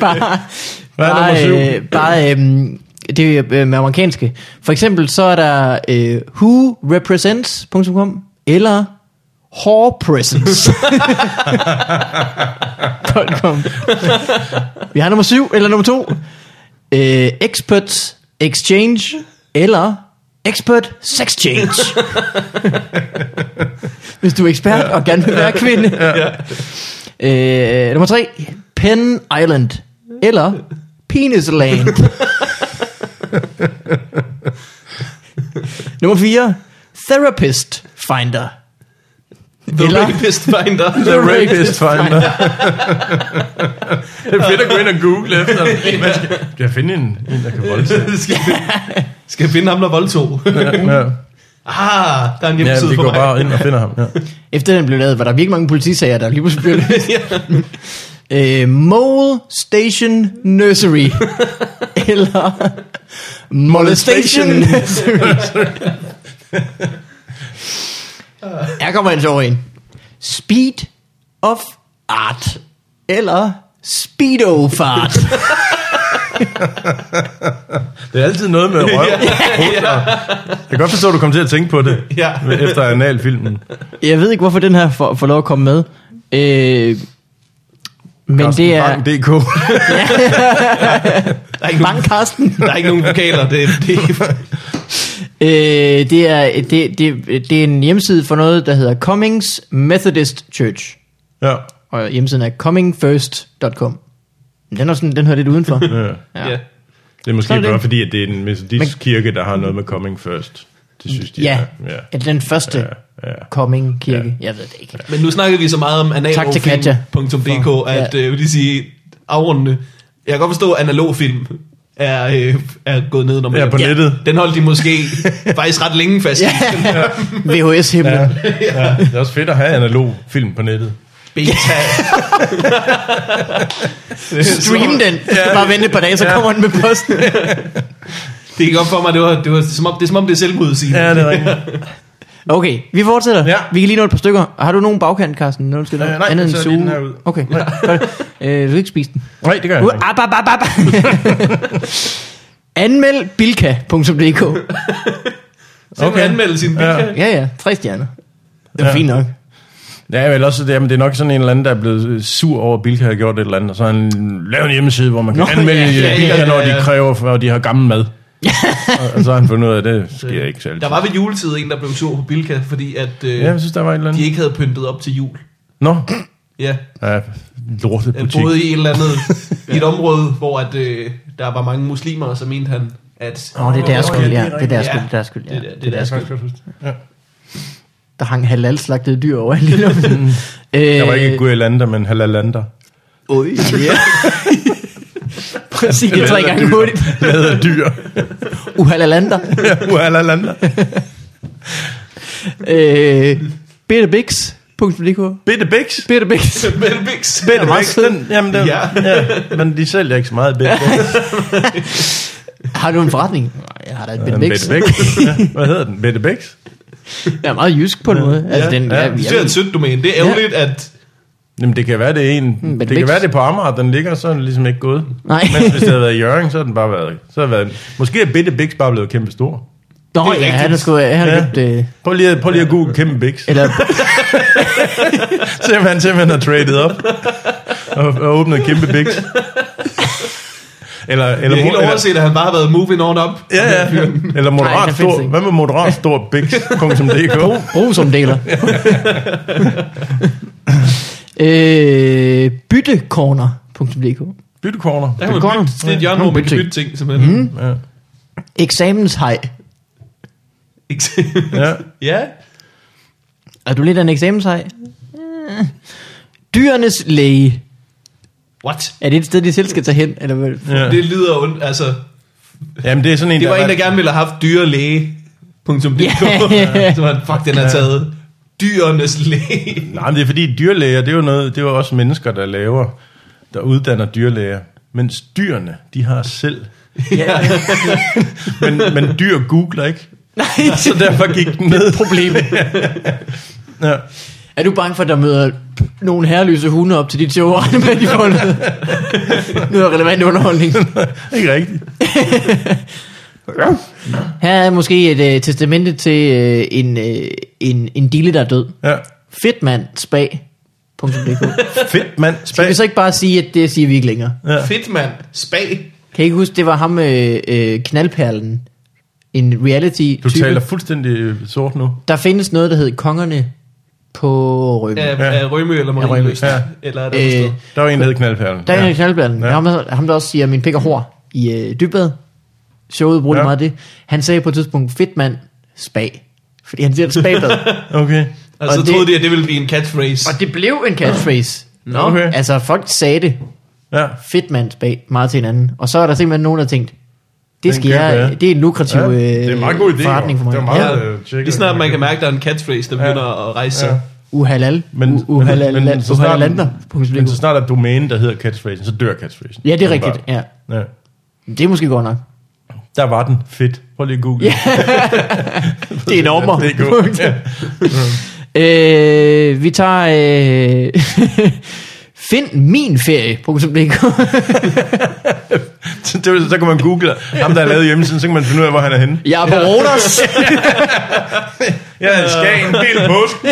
bare,
Hvad er nummer
bare,
syv?
øh, bare øh, det er øh, med amerikanske. For eksempel så er der øh, whorepresents.com eller whorepresents.com. Vi har nummer syv eller nummer to. Øh, expert exchange eller expert sexchange. Hvis du er ekspert og gerne vil være kvinde. Øh, nummer tre, Pen Island, eller Penis Land. nummer fire, Therapist Finder.
The
Eller-
Rapist Finder.
The rapist finder. det er fedt at gå ind og google efter. Hvad skal, skal jeg finde en, en der kan voldtage?
skal, finde, skal finde ham, der voldtog.
Ja,
ah, der er en
ja
hjemmeside
vi
for
går
mig.
bare ind og finder ham. Ja.
Efter den blev lavet, var der virkelig mange politisager, der lige pludselig blev løst. øh, Mole Station Nursery. eller Molestation Nursery. Her kommer en sjov en. Speed of Art. Eller Speedo Fart.
Det er altid noget med røv. Jeg kan godt forstå, at du kom til at tænke på det,
Ja.
efter analfilmen.
Jeg ved ikke, hvorfor den her får, får lov at komme med. Øh, men det er...
Bang.dk.
Der er ikke nogen,
Bang, Karsten.
der er ikke nogen vokaler. Det, det,
Øh, det, er, det, det, det er en hjemmeside for noget, der hedder Cummings Methodist Church.
Ja.
Og hjemmesiden er cummingfirst.com. Men Den, er sådan, den hører lidt udenfor.
ja.
ja.
Det er måske
Så er det
bare
det.
fordi, at det er en metodisk
Men-
kirke, der har noget med coming first. Det synes de
ja,
er. Ja.
ja, den første
Ja, ja.
Cumming-kirke. Jeg ved det ikke.
Men nu snakkede vi så meget om
Tak til Katja.
analogfilm.dk, at
Ja.
ja. øh, jeg vil lige sige afrundende. Jeg kan godt forstå, at analogfilm er, øh, er gået ned, når man
Ja, på
Ja.
nettet.
Den holdt de måske faktisk ret længe fast i.
Ja, VHS-himmel.
Ja.
Ja.
ja. Det er også fedt at have analog film på nettet.
Beta.
Stream den. Ja. Bare vente et par dage, så kommer den med posten.
Det gik op for mig, det var, det var som om, det er som om, det er selvmodsigende.
Ja, det er rigtigt.
Okay, vi fortsætter.
Ja.
Vi kan lige nå et par stykker. Har du nogen bagkant, Carsten? Noget, du skal nå?
Øh, nej,
Andet
jeg
end
tager
suge?
lige den her ud.
Okay, godt. Øh, du kan ikke spise den.
Nej, det gør jeg
Uh,
ikke.
ab, ab, ab, ab. Anmeld bilka.dk
Så okay.
Okay.
anmelde sin
Ja.
Bilka.
Ja, ja, tre stjerner. Det er ja.
Ja.
fint nok.
Ja, vel også, det, men det er nok sådan en eller anden, der er blevet øh, sur over, at Bilka har gjort et eller andet, og så har han lavet en hjemmeside, hvor man kan
Nå,
Nå, anmelde
ja,
ja,
ja,
ja,
ja,
Bilka,
ja,
når
ja.
de kræver, for de har gammel mad. og, og, så har han fundet ud af, at det sker ikke selv.
Der var ved juletid en, der blev sur på Bilka, fordi at øh,
Ja, jeg synes, der var et eller
de
andet.
ikke havde pyntet op til jul.
Nå,
Ja,
ja, lortet
jeg
butik.
boede i et eller andet, i et område, hvor at, øh, der var mange muslimer, og så mente han, at...
Åh, oh, det er deres
Nå,
skyld,
ja,
ja.
det er
Det er deres
rigtigt.
skyld, det er deres skyld, ja.
Det, er- det er deres skyld.
Ja.
Der hang halal slagtede dyr over lige nu.
Jeg var ikke Guillander, men Halalander.
Oj, Øh, ja. Præcis, tre
Lavet af
gange
dyr.
hurtigt.
Lavet af dyr.
Uhalalander.
Ja, Halalander.
Øh, Bitterbix.dk
Bitte Bix.
Bitterbix.
Melbix.
Bitte
meget
Bix.
fed.
Den, jamen, den,
Ja.
ja. ja. Men de sælger ikke så meget Bitte Bix.
Har du en forretning? Nej, jeg har da et
Den
Bitterbix.
Bitte Bix. Ja. Hvad hedder den? Bitte Bix?
Jeg er meget jysk på en måde. Altså, den,
ja.
ja,
Det er et sødt domæne. Det er ærgerligt, at...
Jamen, det kan være, det er en...
Mm, Bitte
det kan
Bix.
være, det er på Amager, den ligger, så er den ligesom ikke gået.
Nej.
Men hvis det havde været i Jørgen, så havde den bare været... Så havde været måske er Bitte Bix bare blevet kæmpe stor.
Nå,
det er
ja,
rigtigt.
han har sgu, han har
Ja.
købt, øh,
Prøv lige, at- prøv lige at google kæmpe Bix.
eller
Se om han simpelthen har traded op og, og åbnet kæmpe Bix. Eller, eller,
Jeg er helt
eller,
overset, at han bare har været moving on up.
Ja, ja. Eller
Nej, der
moderat Nej,
findes
stor.
ikke.
Hvad med moderat stor bix.dk?
Brugsomdeler. øh, byttecorner.dk
Byttekorner.
Der kan man
Byttekorner.
bytte, det er et hjørne,
Ja,
hvor man kan
bytteting.
bytte ting, simpelthen. Mm.
Ja.
Eksamenshej.
Ja.
ja.
Er du lidt af en eksamenshej? Øh. Dyrenes læge.
What?
Er det et sted, de selv skal tage hen? Eller hvad?
ja.
Det lyder ondt, altså.
Jamen, det er sådan en,
Det var en, der
ret-
gerne ville have haft dyrelæge. Punktum. Det
Ja.
Så var han, fuck, den er taget. Dyrenes læge.
Nej, men det er fordi dyrlæger, det er jo noget, det er jo også mennesker, der laver, der uddanner dyrlæger. Mens dyrene, de har selv.
Ja.
Men, men dyr googler ikke,
Nej,
så derfor gik den ned.
problem.
Ja.
Er du bange for, at der møder nogle herreløse hunde op til dit show, Arne, med de får noget, noget relevant underholdning?
ikke rigtigt.
Her er måske et øh, testamente til øh, en, øh, en, en dille, der er død.
Ja.
Fedtmandsbag.dk
Fedt mand,
Kan
spag.
vi så ikke bare sige, at det siger vi ikke længere?
Ja.
Fedt, mand. Spag.
Kan I ikke huske, det var ham øh, øh, knaldperlen? En reality
Du
type.
taler fuldstændig øh, sort nu.
Der findes noget, der hedder Kongerne på ryggen.
Af,
Ja.
af Rømø eller
Af Rømø.
Marienlyst.
Ja.
Eller er der
Øh,
øh,
Der var en, der hed Knaldperlen.
Der er ja. en knaldblanden.
Ja.
Ja. Ham, der- ham, der også siger, min pik er hår i øh, dybbad. Showet bruger
Ja.
ja. meget af det. Han sagde på et tidspunkt, fedt mand, spag. Fordi han siger, det er spagbad.
Okay.
Og så
og
troede
det-
de, at det ville blive en catchphrase.
og det blev en catchphrase. Nå,
Okay.
okay. altså folk sagde det,
Ja.
fedt mand spag, meget til hinanden. Og så er der simpelthen nogen, der tænkte, det, skal
køber
jeg,
jeg.
det er en lukrativ
Ja,
ja,
det er en meget god idé,
forretning for mig.
jo. Det er meget-
meget...
øh,
Ja,
tjekker
lige snart
det.
man kan mærke, at der er en catchphrase, der begynder at rejse sig.
Ja.
Uhalal.
Men,
Men,
men, men, så snart, men så
Uhalalander.
snart der er domæne, der hedder catchphrasen, så dør catchphrasen.
Ja, det er rigtigt.
Åbenbart.
Ja.
Ja.
Det er måske godt nok.
Der var den. Fedt. Prøv lige at google.
Ja. Det er en ommer.
Det er godt. Ja.
Øh, vi tager øh, Find min ferie.dk
Så, det, vil- så kan man google ham, der har lavet hjemmesiden, så kan man finde ud af, hvor han er henne.
Jeg er på Rodos
Jeg er i Skagen hele påsken.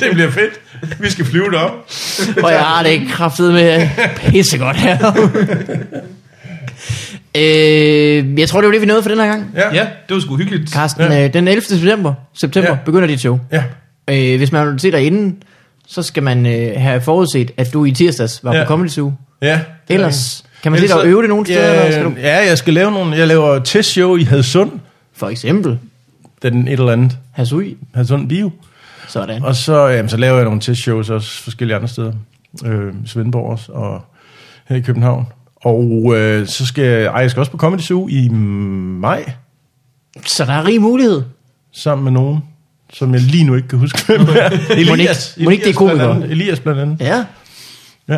det bliver fedt. Vi skal flyve derop.
Og jeg har det kraftet med Pissegodt her øh, Jeg tror det var det vi nåede for den her gang
Ja.
Ja, det var sgu hyggeligt.
Carsten, ja. øh, den 11. september, september
Ja.
ja. begynder dit show
ja.
øh, Hvis man vil se dig inden Så skal man øh, have forudset At du i tirsdags var
Ja.
ja. på Comedy Zoo
ja.
Ellers kan man se dig og øve det nogle steder
Ja,
eller skal du?
ja, jeg skal lave nogle... Jeg laver testshow i Hadsund.
For eksempel
Den et eller andet.
Hasui
Hadsund Bio.
Sådan
Og så, jamen, så laver jeg nogle testshows også forskellige andre steder. Øh, Svendborg også, og her i København. Og øh, så skal jeg, ej, jeg skal også på Comedy Zoo i maj,
Så der er rig mulighed
sammen med nogen, som jeg lige nu ikke kan huske, hvem er. Elias,
ikke- mon ikke det er
blandt
komikere?
andet. Elias blandt andet.
Ja
Ja.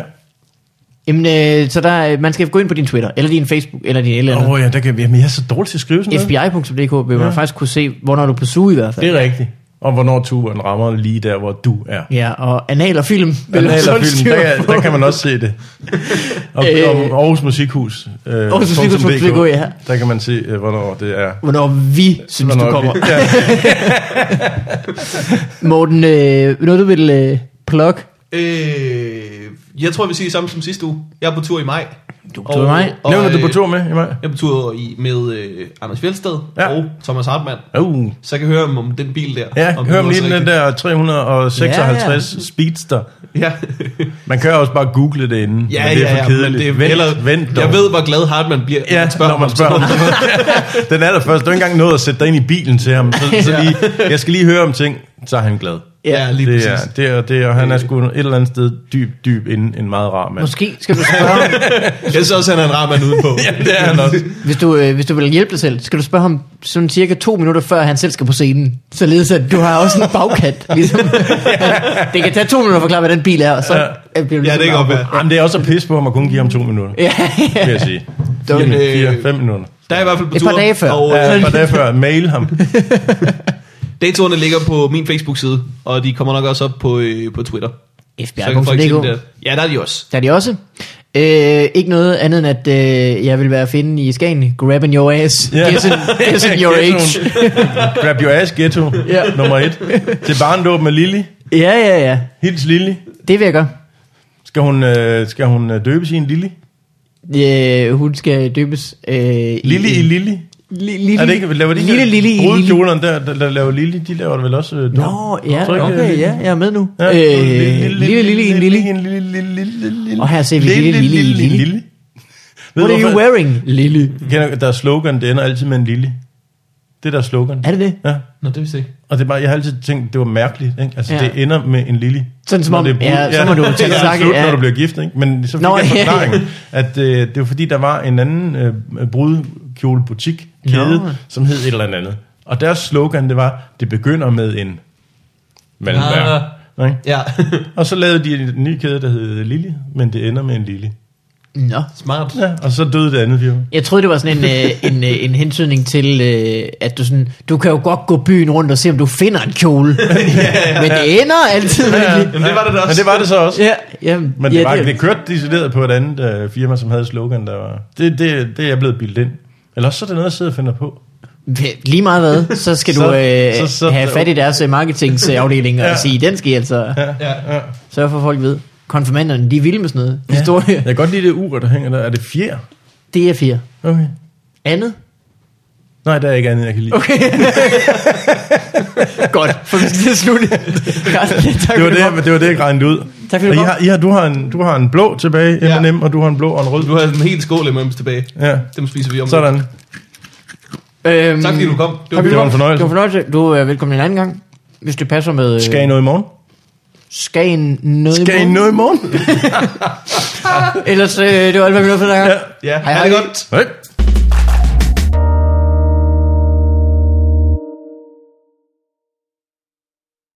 Jamen, øh, så der, øh, man skal gå ind på din Twitter, eller din Facebook, eller din et eller
Åh
andet.
oh, ja, der kan, jamen, jeg er så dårlig til at skrive sådan noget.
FBI.dk vil man
Ja.
ja. faktisk kunne se, hvornår du er på suge i hvert fald.
Det er rigtigt. Og hvornår turen rammer lige der, hvor du er.
Ja, og anal og film. vil
Eller
også holde
filmen,
styr
der,
på.
der kan man også se det. Og,
Øh.
og Aarhus Musikhus. Øh,
Aarhus Musikhus
punktum
punktum
DK,
DK, ja.
Der kan man se, øh, hvornår det er.
Hvornår vi synes,
Hvornår
du kommer.
vi- Ja.
Morten, øh, noget du vil øh, plukke?
Øh, jeg tror, vi siger samme som sidste uge. Jeg er på tur i maj. Du er
på tur i maj?
Nævner du
øh,
på tur med i mig?
Jeg er på tur i, med øh, Anders Fjeldsted
Ja.
ja. og Thomas Hartmann.
Uh.
Så jeg kan høre om, om den bil der.
Ja,
om
hør om
lyder
lige
så
den
rigtigt.
der 356
Ja,
ja. Speedster.
Ja,
Man kan også bare google det inden,
ja,
men det er
ja, ja,
for
men
kedeligt.
det er
vent, vent dog.
Jeg ved, hvor glad Hartmann bliver,
Ja, når man spørger
om
ham.
sådan noget.
Den er der først. Du har ikke engang nået at sætte dig ind i bilen til ham. Så, så lige, jeg skal lige høre om ting, så er han glad.
Ja, lige
Det er,
præcis. Øh.
det er, det er, og han er sgu et eller andet sted dyb, dyb inden en meget rar mand.
Måske skal du spørge ham,
Jeg synes også, han er en rar mand udenpå.
Ja, det er han også.
hvis du, øh, hvis du vil hjælpe dig selv, skal du spørge ham sådan cirka to minutter før han selv skal på scenen. Således at du har også en bagkant. Ligesom. det kan tage to minutter at forklare, hvad den bil er, og så øh, bliver du
Ja,
ligesom
det kan godt
afbrudt.
være.
Jamen, det er også at pisse på ham at kun give ham to minutter,
Ja,
vil jeg sige.
Don't-
Fire,
øh,
fire, fem minutter.
Der er jeg i hvert fald på
Et
tur.
par dage før.
Og, øh,
Ja, et par dage før. Mail ham.
Datoerne ligger på min Facebook-side, og de kommer nok også op på, øh, på Twitter. Så kan folk se dem
FBI.dk.
der. Ja, der er de også.
Der er de også. Øh, ikke noget andet end, at øh, jeg vil være at finde i Skagen. Grabbing your ass.
Ja.
Yeah. Guessing, guessing your age.
Grab your ass, ghetto.
Ja.
Nummer et. Til barndåb med Lilly.
Ja, ja, ja.
Hils Lilly.
Det vil jeg gøre.
Skal hun, øh, skal hun øh, døbe sin Lilly?
Øh, hun skal døbes. Øh,
Lilly i Lilly?
Li- lille,
Er det ikke, laver de
lille, lille, i lille.
brudkjolerne der, der, der laver Lilly, de laver det vel også øh, dåb?
Nå, ja,
Tror du ikke, øh,
okay, ja, jeg er med nu.
Ja.
Øh, Lille, lille, i en lille.
en lille, lille, lille, lille.
Og her ser vi lille, lille, lille, lille. lille.
Ved
What
du,
are you
hvorfor-
wearing, Lily?
Kender du, Der er slogan, det ender altid med en lille. Det er der slogan.
Er det det?
Ja.
Nå, det vil se.
Og det er bare, jeg har altid tænkt, det var mærkeligt. Ikke? Altså,
Ja.
ja. det ender med en lille.
Sådan som
når
om-
det er brud.
ja, så må du til at
det er
snakke,
slut,
ja.
når du bliver gift. Ikke? Men så fik
Nå,
Nå, jeg
ja.
forklaringen, at øh, det var fordi, der var en anden øh, brudkjolebutik, kæde,
Nå.
som hed et eller andet. Og deres slogan, det var, det begynder med en mellemvær.
Ah.
Ikke?
Ja,
Og så lavede de en ny kæde, der hed Lille, men det ender med en Lille.
Nå.
smart.
Ja, og så døde det andet firma.
Jeg troede, det var sådan en, øh, en, øh, en hensynning til, øh, at du sådan, du kan jo godt gå byen rundt og se, om du finder en kjole. Men det ender altid med en lille.
Jamen, det var det da også.
Men det var det så også.
Ja, jamen,
Men det,
ja,
var, det kørte decideret på et andet øh, firma, som havde slogan, der var... Det, det, det er jeg blevet bildt ind. Eller også så er det noget, jeg sidder og finder på.
Lige meget hvad, så skal så, du
Så-
øh, så,
så-
så,
så-
have fat i deres øh, marketingsafdeling og ja.
Ja.
sige, den skal I altså
Ja.
sørge for, at folk ved. Konfirmanderne, de er vilde med sådan noget. Historie.
Jeg kan godt lide det ur, der hænger der. Er det fjer?
Det er fire.
Okay.
Andet?
Nej, der er ikke andet, jeg kan lide. Okay,
Godt, for vi skal til at slutte. Carsten, tak
det, var
for
det, men det var det, jeg regnede ud.
Tak fordi du kom.
Og I har, I har, du, har en, du har en blå tilbage,
Ja.
M&M, og du har en blå og en rød.
Du har en helt skål M&M's tilbage.
Ja,
Dem spiser vi om. lidt.
sådan.
Øhm,
Tak fordi du kom. Det var
Det var en
Det
fornøjelse.
var fornøjelse. Du er velkommen en anden gang, hvis det passer med... øh,
Skal I noget i morgen?
Skagen noget i
Skal I
morgen.
noget i morgen?
Ellers, øh, det var alt, hvad vi nåede for dig.
Ja.
Ja,
Hej,
ha' det
hej.
godt.
Hey.